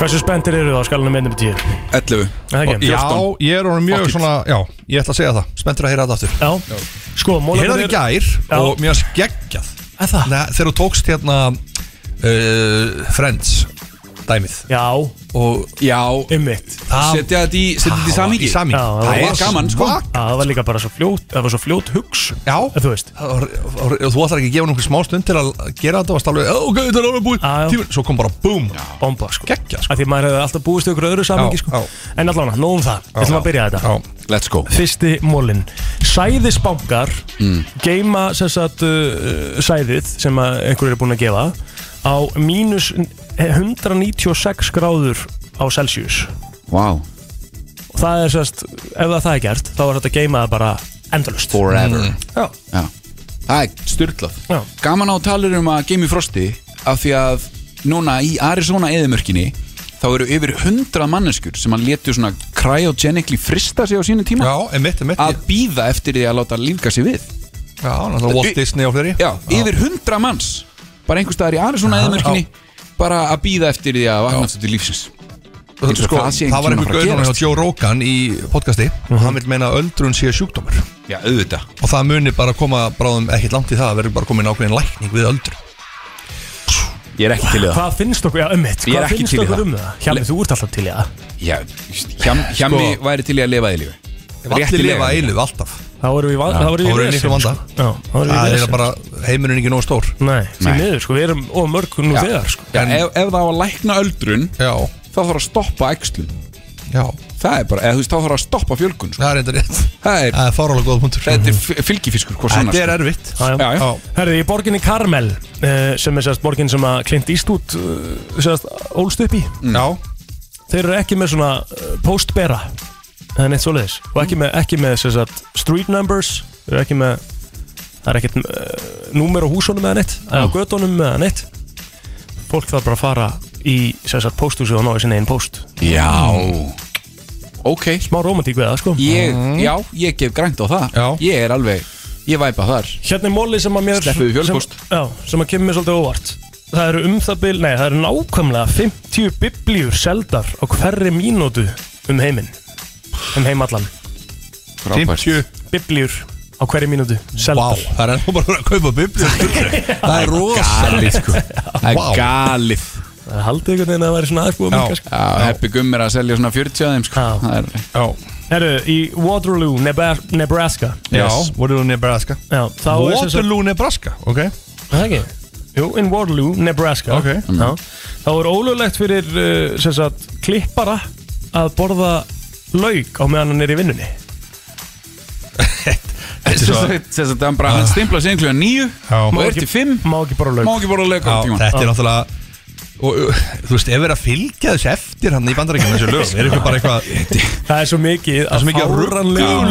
Hversu spenntir eru það á skalanum 1 með 10? 11 Það er ekki? Já, ég er orðin mjög Fuck it. svona, já, ég ætla að segja það Spendur að heyra þetta aftur Já Sko, Ég heyrði það í mólarnir gær og mér skeggjað Er það? Nei, Þegar þú tókst hérna uh, Friends dæmið Já Og Já Einmitt Setja þetta í, setja þetta í samhengi Já, Það var- er gaman sko Já, Það var líka bara svo fljót Það var svo fljót hugs Já Þú veist Það var- var- Þú ætlar ekki að gefa nokkuð smá stund til að gera þetta og stálu Ok, þetta er alveg búið Tíminn- Svo kom bara boom Bomba sko Gekja sko Af Því maður hefði alltaf búist í okkur öðru samingi Já, sko En allan, nóg um það Við ætlum að byrja þetta Let's go Fyrsti mólin Sæðisbankar Mm. Geima sem sagt uh, sæðið Sem að einhverju er búin að gefa Á mínus 196 gráður á Celsius Vá wow. Og það er sérst Ef það það er gert Þá er þetta geimaði bara endalust Forever Mm. Já. Það er styrlað Gaman á talir um að geimi frosti Af því að núna í Arizona eðimörkinni Þá eru yfir hundra manneskur Sem að letu svona cryogenically frista sig á sínu tíma Já, emitt, emitt Að býða eftir því að láta lífga sig við Já, náttúrulega Walt Disney og fleiri Já, yfir hundra manns Bara einhver staðar í Arizona eðimörkinni Bara að býða eftir því að vakna eftir lífsins Það, Eins og sko, sé það einhvern var tímann að einhver fara að gaur núna gerast. hjá Joe Rogan í podcasti Mhm. Hann vil meina að öldrun sé sjúkdómur Já, auðvitað Og það muni bara koma bráðum ekkert langt í það Það verður bara komin ákveðin lækning við öldrun Ég er ekki til í það Hvað finnst okkur, já, Ég ömmit er Hvað ekki finnst til í okkur það. um það? Hjálmi, þú ert alltaf til í það Já, hjam, hjammi væri til í að lifa eilífu Sko. Ef allir lifa að eilífu, alltaf Þá erum við í Já, þá vanda Þá erum við erum við í vesen, miklum vanda. sko. Já, þá erum Það við er í vesen, eiginlega bara heimurinn er ekki nóg stór Nei, því Nei. miður, sko, við erum of mörg nú Já. þegar, sko Já, ef, ef það á að lækna öldrun Já. þá þarf að stoppa æxlun Já. það er bara, eða þú veist, þá þarf að stoppa fjölgun sko. Það er eitthvað rétt Það er, er fárálega góða punktur Þetta er f- fylgifiskur, hvort svona Þetta er sko. erfitt Já, já. já. Herðu, í borginni Karmel eh, sem er sérst borgin sem að Clint Eastwood eh, sérst ólst upp í Já Þeir eru ekki með svona eh, postbera eða neitt svoleiðis og ekki með, ekki með sérst street numbers þeir eru ekki með það er ekkert uh, númer á húsunum eða neitt eða á götunum eða neitt fólk þarf bara að fara í sérst posthúsi og náðu sinni einn post Já Ok Smá romantík við það, sko Ég, Mhm. já, ég gef grænt á það já. Ég er alveg, ég væpa þar Hérna er móli sem að mér Sleppu við fjölpóst. sem, Já, sem að kemur mér svolítið óvart Það eru um það bil, nei, það eru nákvæmlega 50 biblíur seldar á hverri mínútu um heiminn Um heimallan 50 Biblíur á hverri mínútu seldar Vá, það er ennú bara að kaupa biblíu Það galið, er rosa sko. Það er Vá. galið Það haldi einhvern veginn að það væri svona aðbúið Já, mikið, sko. já heppi gumm er að selja svona 40 af þeim sko. Það er, já. Herru, í Waterloo, Nebra- Nebraska Já, Waterloo, Nebraska Já, þá er sem sagt- Waterloo, Nebraska, ok Það ekki Jú, in Waterloo, Nebraska Ok. Mm. Já. Þá er ólöglegt fyrir uh, sem sagt, klippara að borða lauk á meðan hann er í vinnunni Sem sagt- sem sagt, hann bara, hann stimpla sig einhverja nýju og er til fimm Má ekki bara lauk Má ekki bara lauk á Já, tíma Þetta er náttúrulega Og uh, þú veist, ef við erum að fylgja þessu eftir hann í bandaríkjum þessu lögum Er ykkur bara eitthvað Það er svo mikið Það er svo mikið af fáránlegum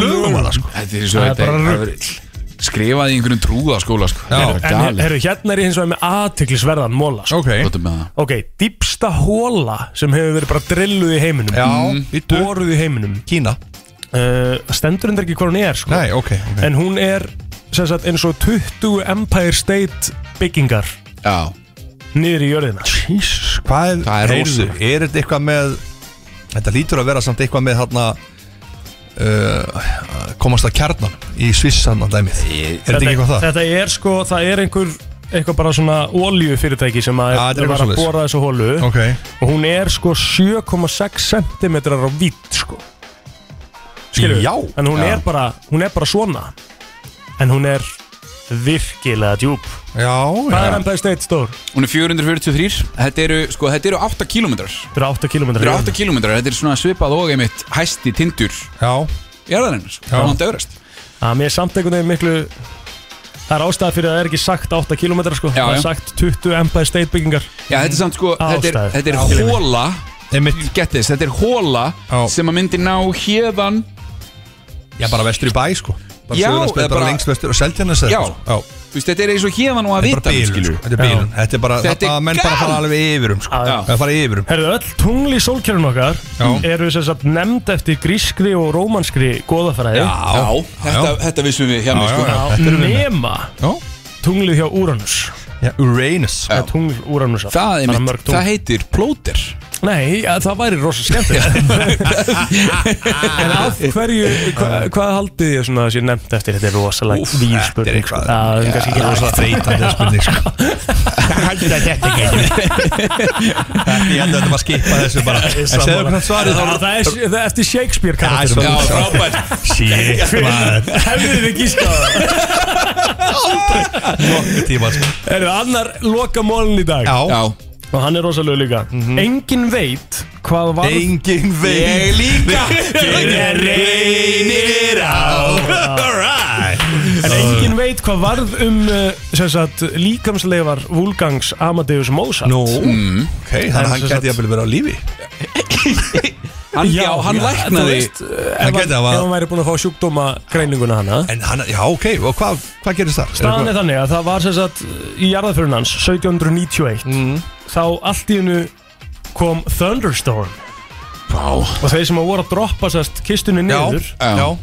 rugluðum lögum að það, sko. Þetta er svo Það er þetta bara er- er skrifað í einhverjum trúðaskóla sko. Það er En galið. herru, hérna er ég hins vegar með aðtiklisverðan móla sko. Ok Látum með það. Hérna. Ok, dýpsta hóla sem hefur verið bara drilluð í heiminum Já, býttu Boruð í heiminum Kína uh, Stendur hendur ekki hvað hún er sko Nei, ok, ok. En hún er sem sagt eins og 20 Empire State byggingar Já Niður í jörðina Jesus, Hvað er, Það er heyrðu, rosa. er þetta eitthvað með Þetta lítur að vera samt eitthvað með þarna uh, Komast að kjarnan Í Sviss hann að dæmið Er þetta ekki eitthvað það? Þetta er sko, það er einhver eitthvað bara svona olju fyrirtæki sem að Já, þetta er var að eitthvað svoleiðis. bora þessu hólu Ok. og hún er sko 7,6 cm á vitt sko skilur Já. en hún, Já. Er bara, hún er bara svona en hún er virkilega djúb já, hvað já. er Empire State stór? Hún er 443 Þetta eru, sko, þetta eru 8 kílómetrar Þetta eru 8 kílómetrar Þetta eru 8 kílómetrar Þetta er svona svipað og einmitt hæsti tindur Já Jarðarinnar sko. Það er hann dögrest að mér er samt einhvern veginn miklu það er ástæða fyrir að það er ekki sagt 8 km sko, Já, já. það er sagt 20 Empire State byggingar Já, þetta er samt sko Þetta er, Ástæður. þetta Já. er hóla Get this Þetta er hóla Sem að myndi ná hérðan Já, bara vestur í bæ, sko Bara Já, Suðurlandsbraut, eða bara bara- lengst vestur og Seltjarnas Já. já Þú veist, þetta er eins og hérðan og að Þetta er vita bara bílun, sko. Þetta er bílun. Þetta er bara, þetta er menn bara fara alveg yfirum sko. Já. Það fara yfirum Herðu, öll tungl í sólkerfinu okkar eru sem sagt nefnd eftir grískri og rómanskri goðafræði Já, þetta, þetta vissum við hjá mig sko nema tunglið hjá Uranus Uranus Það er tungl Uranus Það, einmitt, það heitir plóter Nei, ja, það væri rosa skemmtilegt En af Ah. hverju hva, Hvað haldið ég svona að sé nefnt eftir Þetta er rosalega Úff, þetta er víðspurning eitthvað- Það Já, er kannski ekki þetta er rosalega þreytandi spurning, sko. Haldið að þetta Ég held að þetta var skipa þessu bara En segðu okkur hann svarið þá- Já, Það er það er eftir Shakespeare karakterum Já, frábært Shit, maður Hefðið þið gískað Nokkuð tíma sko. Er það annar loka mólun í dag Já. Já. Og hann er rosalega líka Engin veit hvað var Engin veit Ég líka Þegar reynir á Alright En engin veit hvað varð um uh, sem sagt, líkamsleifar Vulgangs Amadeus Mozart Nú, Mm. Mm, ok, þannig að hann gæti jafnvel verið á lífi Hann, já, hann já, læknaði- þú veist, eh, ef Hann gæti hann- hafa- Ef hann væri búin að fá sjúkdóma greininguna hana En hann, já, ok, og hvað hva gerist þar? Staðan er þannig að það var sem sagt eh, í jarðaförun hans 1791 Mhm. þá allt í hennu kom Thunderstorm Vá. og þeir sem voru að droppa sérst kistunni niður já. Já.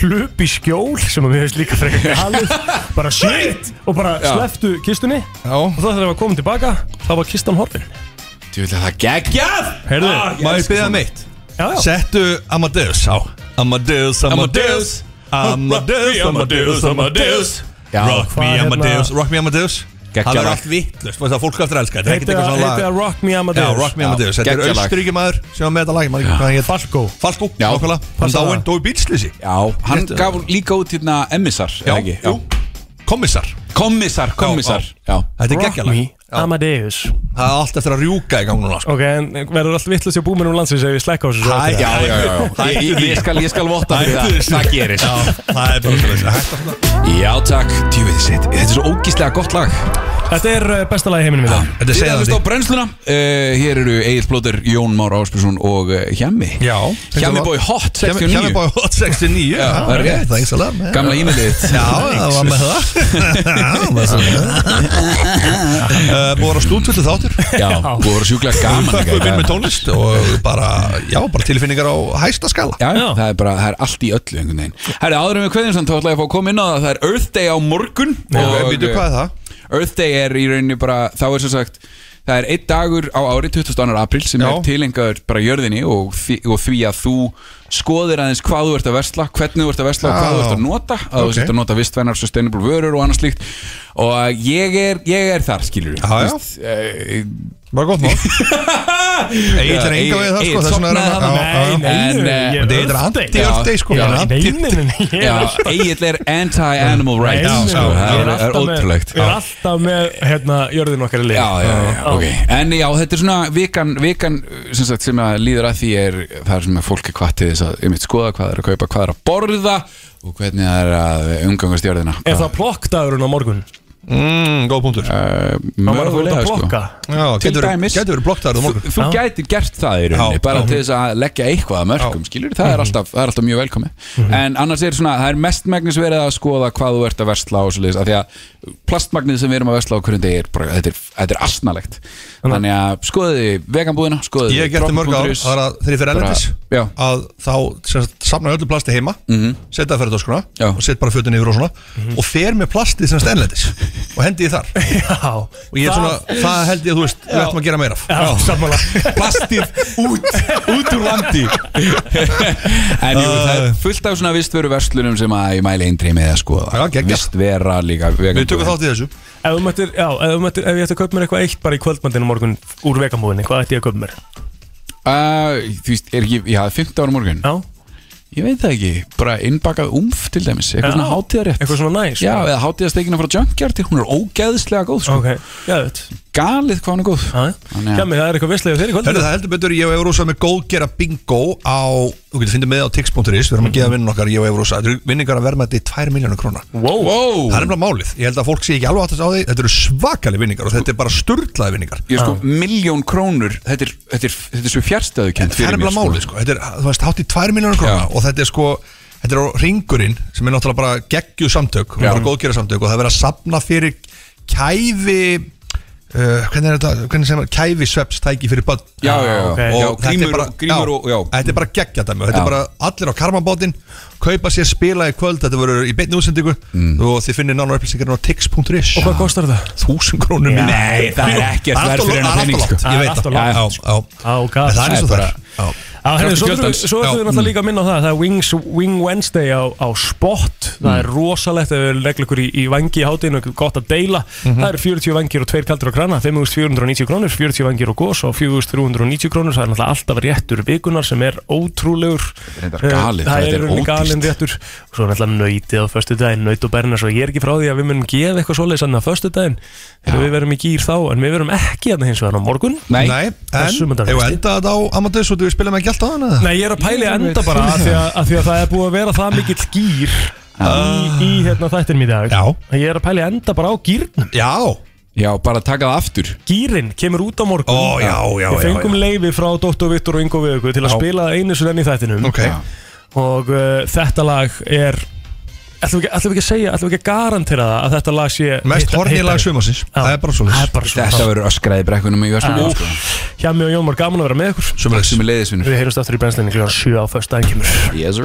hlup í skjól sem að mér hefðist líka frekar galið bara shit og bara Já. sleftu kistunni já. og þá þegar það var komin tilbaka þá var kistan horfin Þú vil að það geggjað Heyrðu, Má Ah, ég beða meitt? Já, já. Settu Amadeus á Amadeus, Amadeus Amadeus, Amadeus, Amadeus Já. Rock me Hvað, hérna- Amadeus, Rock me Amadeus Geggjað Það er lag. allt vittlust, það er fólk aftur að elska Þetta er ekkert Heiti eitthvað að, svona lag heiti að Rock Me Já, Amadeus Rock me Já, Amadeus, þetta er geggjað lag. austuríki maður sem var með þetta lag, maður ekki hvað hann hétt Falco Falco, Já. nokkala, hann Passa dáinn, dói bílslýsi Já, hann Réttu. gaf líka út hérna emissar Já, jú. Kommissar Kommissar, kommissar Já, Þetta er Rock geggjalag Me Amadeus Það er allt eftir að rjúka í gang núna sko. Ok, en verður allt vittlust hjá búmennum landsins ef ég slekka á þessu svo Hæ, eftir? já, já, já, já. Ég, ég, ég, skal, ég skal votta fyrir það Það gerist Já, það er bara svona Hægt að svona Já, takk Tjúfið sitt Þetta er svo ógíslega gott lag Þetta er eh, besta lagi heiminum í dag Þetta er Þið erum segðandi á brennsluna uh, Hér eru Egil Blóter, Jón Már Áspilsson og uh, Hjemmi Já Hjemmi bói hot 69 Hjemmi Bói Hot 69 Já, það er rétt. Það er ekki svolítið Gamla e-mailið Já, það var með það Já, það var svolítið Uh, Búið að vera stúdfullu þáttur Já, þú voru sjúklega gaman Þakkuð minn með líka. tónlist og bara, já, bara tilfinningar á hæsta skala Já, já, það er bara, það er allt í öllu einhvern veginn Herri, áður en við kveðjum samt, þá ætla ég að fá að koma inn á það Það er Earth Day á morgun Og býtu, hvað er það? Earth Day er í rauninni bara, þá er sem sagt Það er einn dagur á ári, 22. apríl sem Já. er tilengaður bara jörðinni og því, og því að þú skoðir aðeins hvað þú ert að versla, hvernig þú ert að versla og hvað Já. þú ert að nota, að Ok. þú ert að nota vistvænar sustainable vörur og annað slíkt og ég er, ég er þar, skilur Já, já. eh, Bara gott mál Egil er enga við það, sko, þess vegna er hann- Já, já. Nei, nei, En, eh, nei, Þetta er anti-Earth Day, sko Já, hann er anti- Nei, nei, nei, nei, ég er Já, Egil er anti-animal rights Nei, sko, nei, Það ég er- alltaf er með- ótrúlegt Ég er alltaf með, hérna, jörðin okkar í lið Já, já, já, ok En já, þetta er svona vikan, vikan sem, sagt, sem að líður að því er það er sem að fólk er hvað til þess að einmitt skoða hvað það er að kaupa, hvað það er að borða og hvernig það er að umgangast jörðina Er það plokkdagurinn á morgun? Mm, góð punktur Má maður að fór út að plokka? Já, Til getur dæmis. verið blokktaður á morgun Þú Já. gætir gert það í rauninni Já, bara já. til þess að leggja eitthvað að mörgum skilur, það er alltaf, það er alltaf mjög velkomi en annars er svona, það er mestmagnis verið að skoða hvað þú ert að versla og svoleiðis af því að plastmagnið sem við erum að versla á hverjum degi er bara, þetta er, þetta er asnalegt þannig að skoðiði veganbúðina skoðiði Ég hef gert það mörg ár, dropbox.is. það er að þegar ég fyrir Bara- erlendis Já. að þá sem sagt, samna ég öllu plasti heima setja það fyrir töskuna Já. og setja bara fötin yfir og svona og fer með plastið sem sagt erlendis og hendi ég þar Já og ég er svona, það held ég að þú veist við ættum að gera meira af Já, sammála plastið út, út úr landi en jú, það er fullt af svona vistveru verslunum sem að ég mæli eindri með að Já, skoða geggjað. vistvera líka Við tökum þátt í þessu Ef þú mættir, já, ef þú mættir, ef ég ætti að kaupa mér eitthvað eitt bara í kvöldmandinu morgun úr vegamóðinni, hvað ætti ég að kaupa mér? Uh, þú veist, er ekki, já, 15 ára morgun Já, Ég veit það ekki, bara innbakað umf til dæmis Eitthvað Já. svona hátíðarétt eitthvað svona næs Já, eða hátíðasteikina frá Junkyard Hún er ógeðslega góð, sko Ok, já, veit Galið hvað hún er góð Þannig að- Já, mér, það er eitthvað visslega þeirri kvöld Hörðu það heldur betur, ég og Eurósa með góðgera bingo á, þú getur fundið með á tix.is við erum að geða vinnun okkar, ég og Eurósa þetta eru vinningar að verma þetta í 2 miljónu krónar Wow Wow, Það er nefnilega málið, ég held að fólk sé ekki alveg aðtast á því þetta eru svakalega vinningar og þetta er bara sturglaði vinningar ég sko, miljón krónur Þetta er, þetta er, þetta er svo fjarstöðukent það er fyrir mér, nefnilega sko. málið sko, þetta er, þú veist, hátt í 2 miljónur Já. króna og þetta er sko, þetta er á ringurinn sem er náttúrulega bara geggju samtök og Já. bara góðgera samtök og það er verið að sapna fyrir kæfi uh, uh, hvernig er þetta, hvernig sem kæfisvepstæki fyrir börn Já, já, já. Ah, Ok. Já, og þetta grímur er bara, og- grímur og- já. þetta er bara geggja dæmi þetta Já. er bara allir á karmabótin kaupa sér spila í kvöld, þetta verður í beinni útsendingu Mm. og þið finnir nánar upplýsingar á tix.is og hvað kostar það? 1000 krónur minni Nei, það er ekkert Það verð er alltaf fyrir hennar lágt, pening það er alltaf sko. lágt, ég veit það. Alltaf lágt. Já, já. Á, gað. En það er eins og Það það er er. Já. Já, herri, svo þurfum Kjöldans. svo þurfum Já. mm. við Mm. náttúrulega líka að minna á það Það er Wings Wing Wednesday á, á spot Það er rosalegt ef við leggjum ykkur í, í vangi í hátinn og gott að deila Það eru 40 vangir og 2 kaldur og grana 5.490 krónur, 40 vangir og gos og 4.390 krónur, það er náttúrulega alltaf réttur vikunar sem er ótrúlegur Þetta er galið, það þetta er er rauninni ódýrt. galinn réttur og svo er náttúrulega nöytið á föstu daginn, nöyt og berna svo ég er ekki frá því að við munum gefa eitthvað svoleiðis annað á föstu daginn þegar við verum í gýr þá en við verum ekki hérna hins vegar á morgun Nei, en Þessum ef þetta við veistu. enda þetta á Amadeus og þú spila með gælt á hana Nei, ég er að pæli enda bara að því að, að því að það er búið að vera það mikill gýr í, í hérna þættinum í dag Já Ég er að pæli enda bara á gýrnum Já Já, bara taka það aftur Gýrin kemur út á morgun Ó, já, já, Við já, fengum já. leifi frá Dr. Vittur og Ingo Viðugu til að Já. spila það einu svo enn í þættinum Ok. Já. Og uh, þetta lag er Ætlum við, ekki, ætlum við ekki að segja, ætlum við ekki að garantera það að þetta lag sé Mest hitta- hornið lag hittari? sumarsins Það er bara svo Það er bara svoleiðis. Þetta verður öskraði brekkunum í sko. Já. Vestmann Hjá mig og Jónmar, gaman að vera með ykkur Sumulegis Sumulegis Við heyrumst aftur í brennslinni kljóðan 7 á föstudaginn kemur Yes sir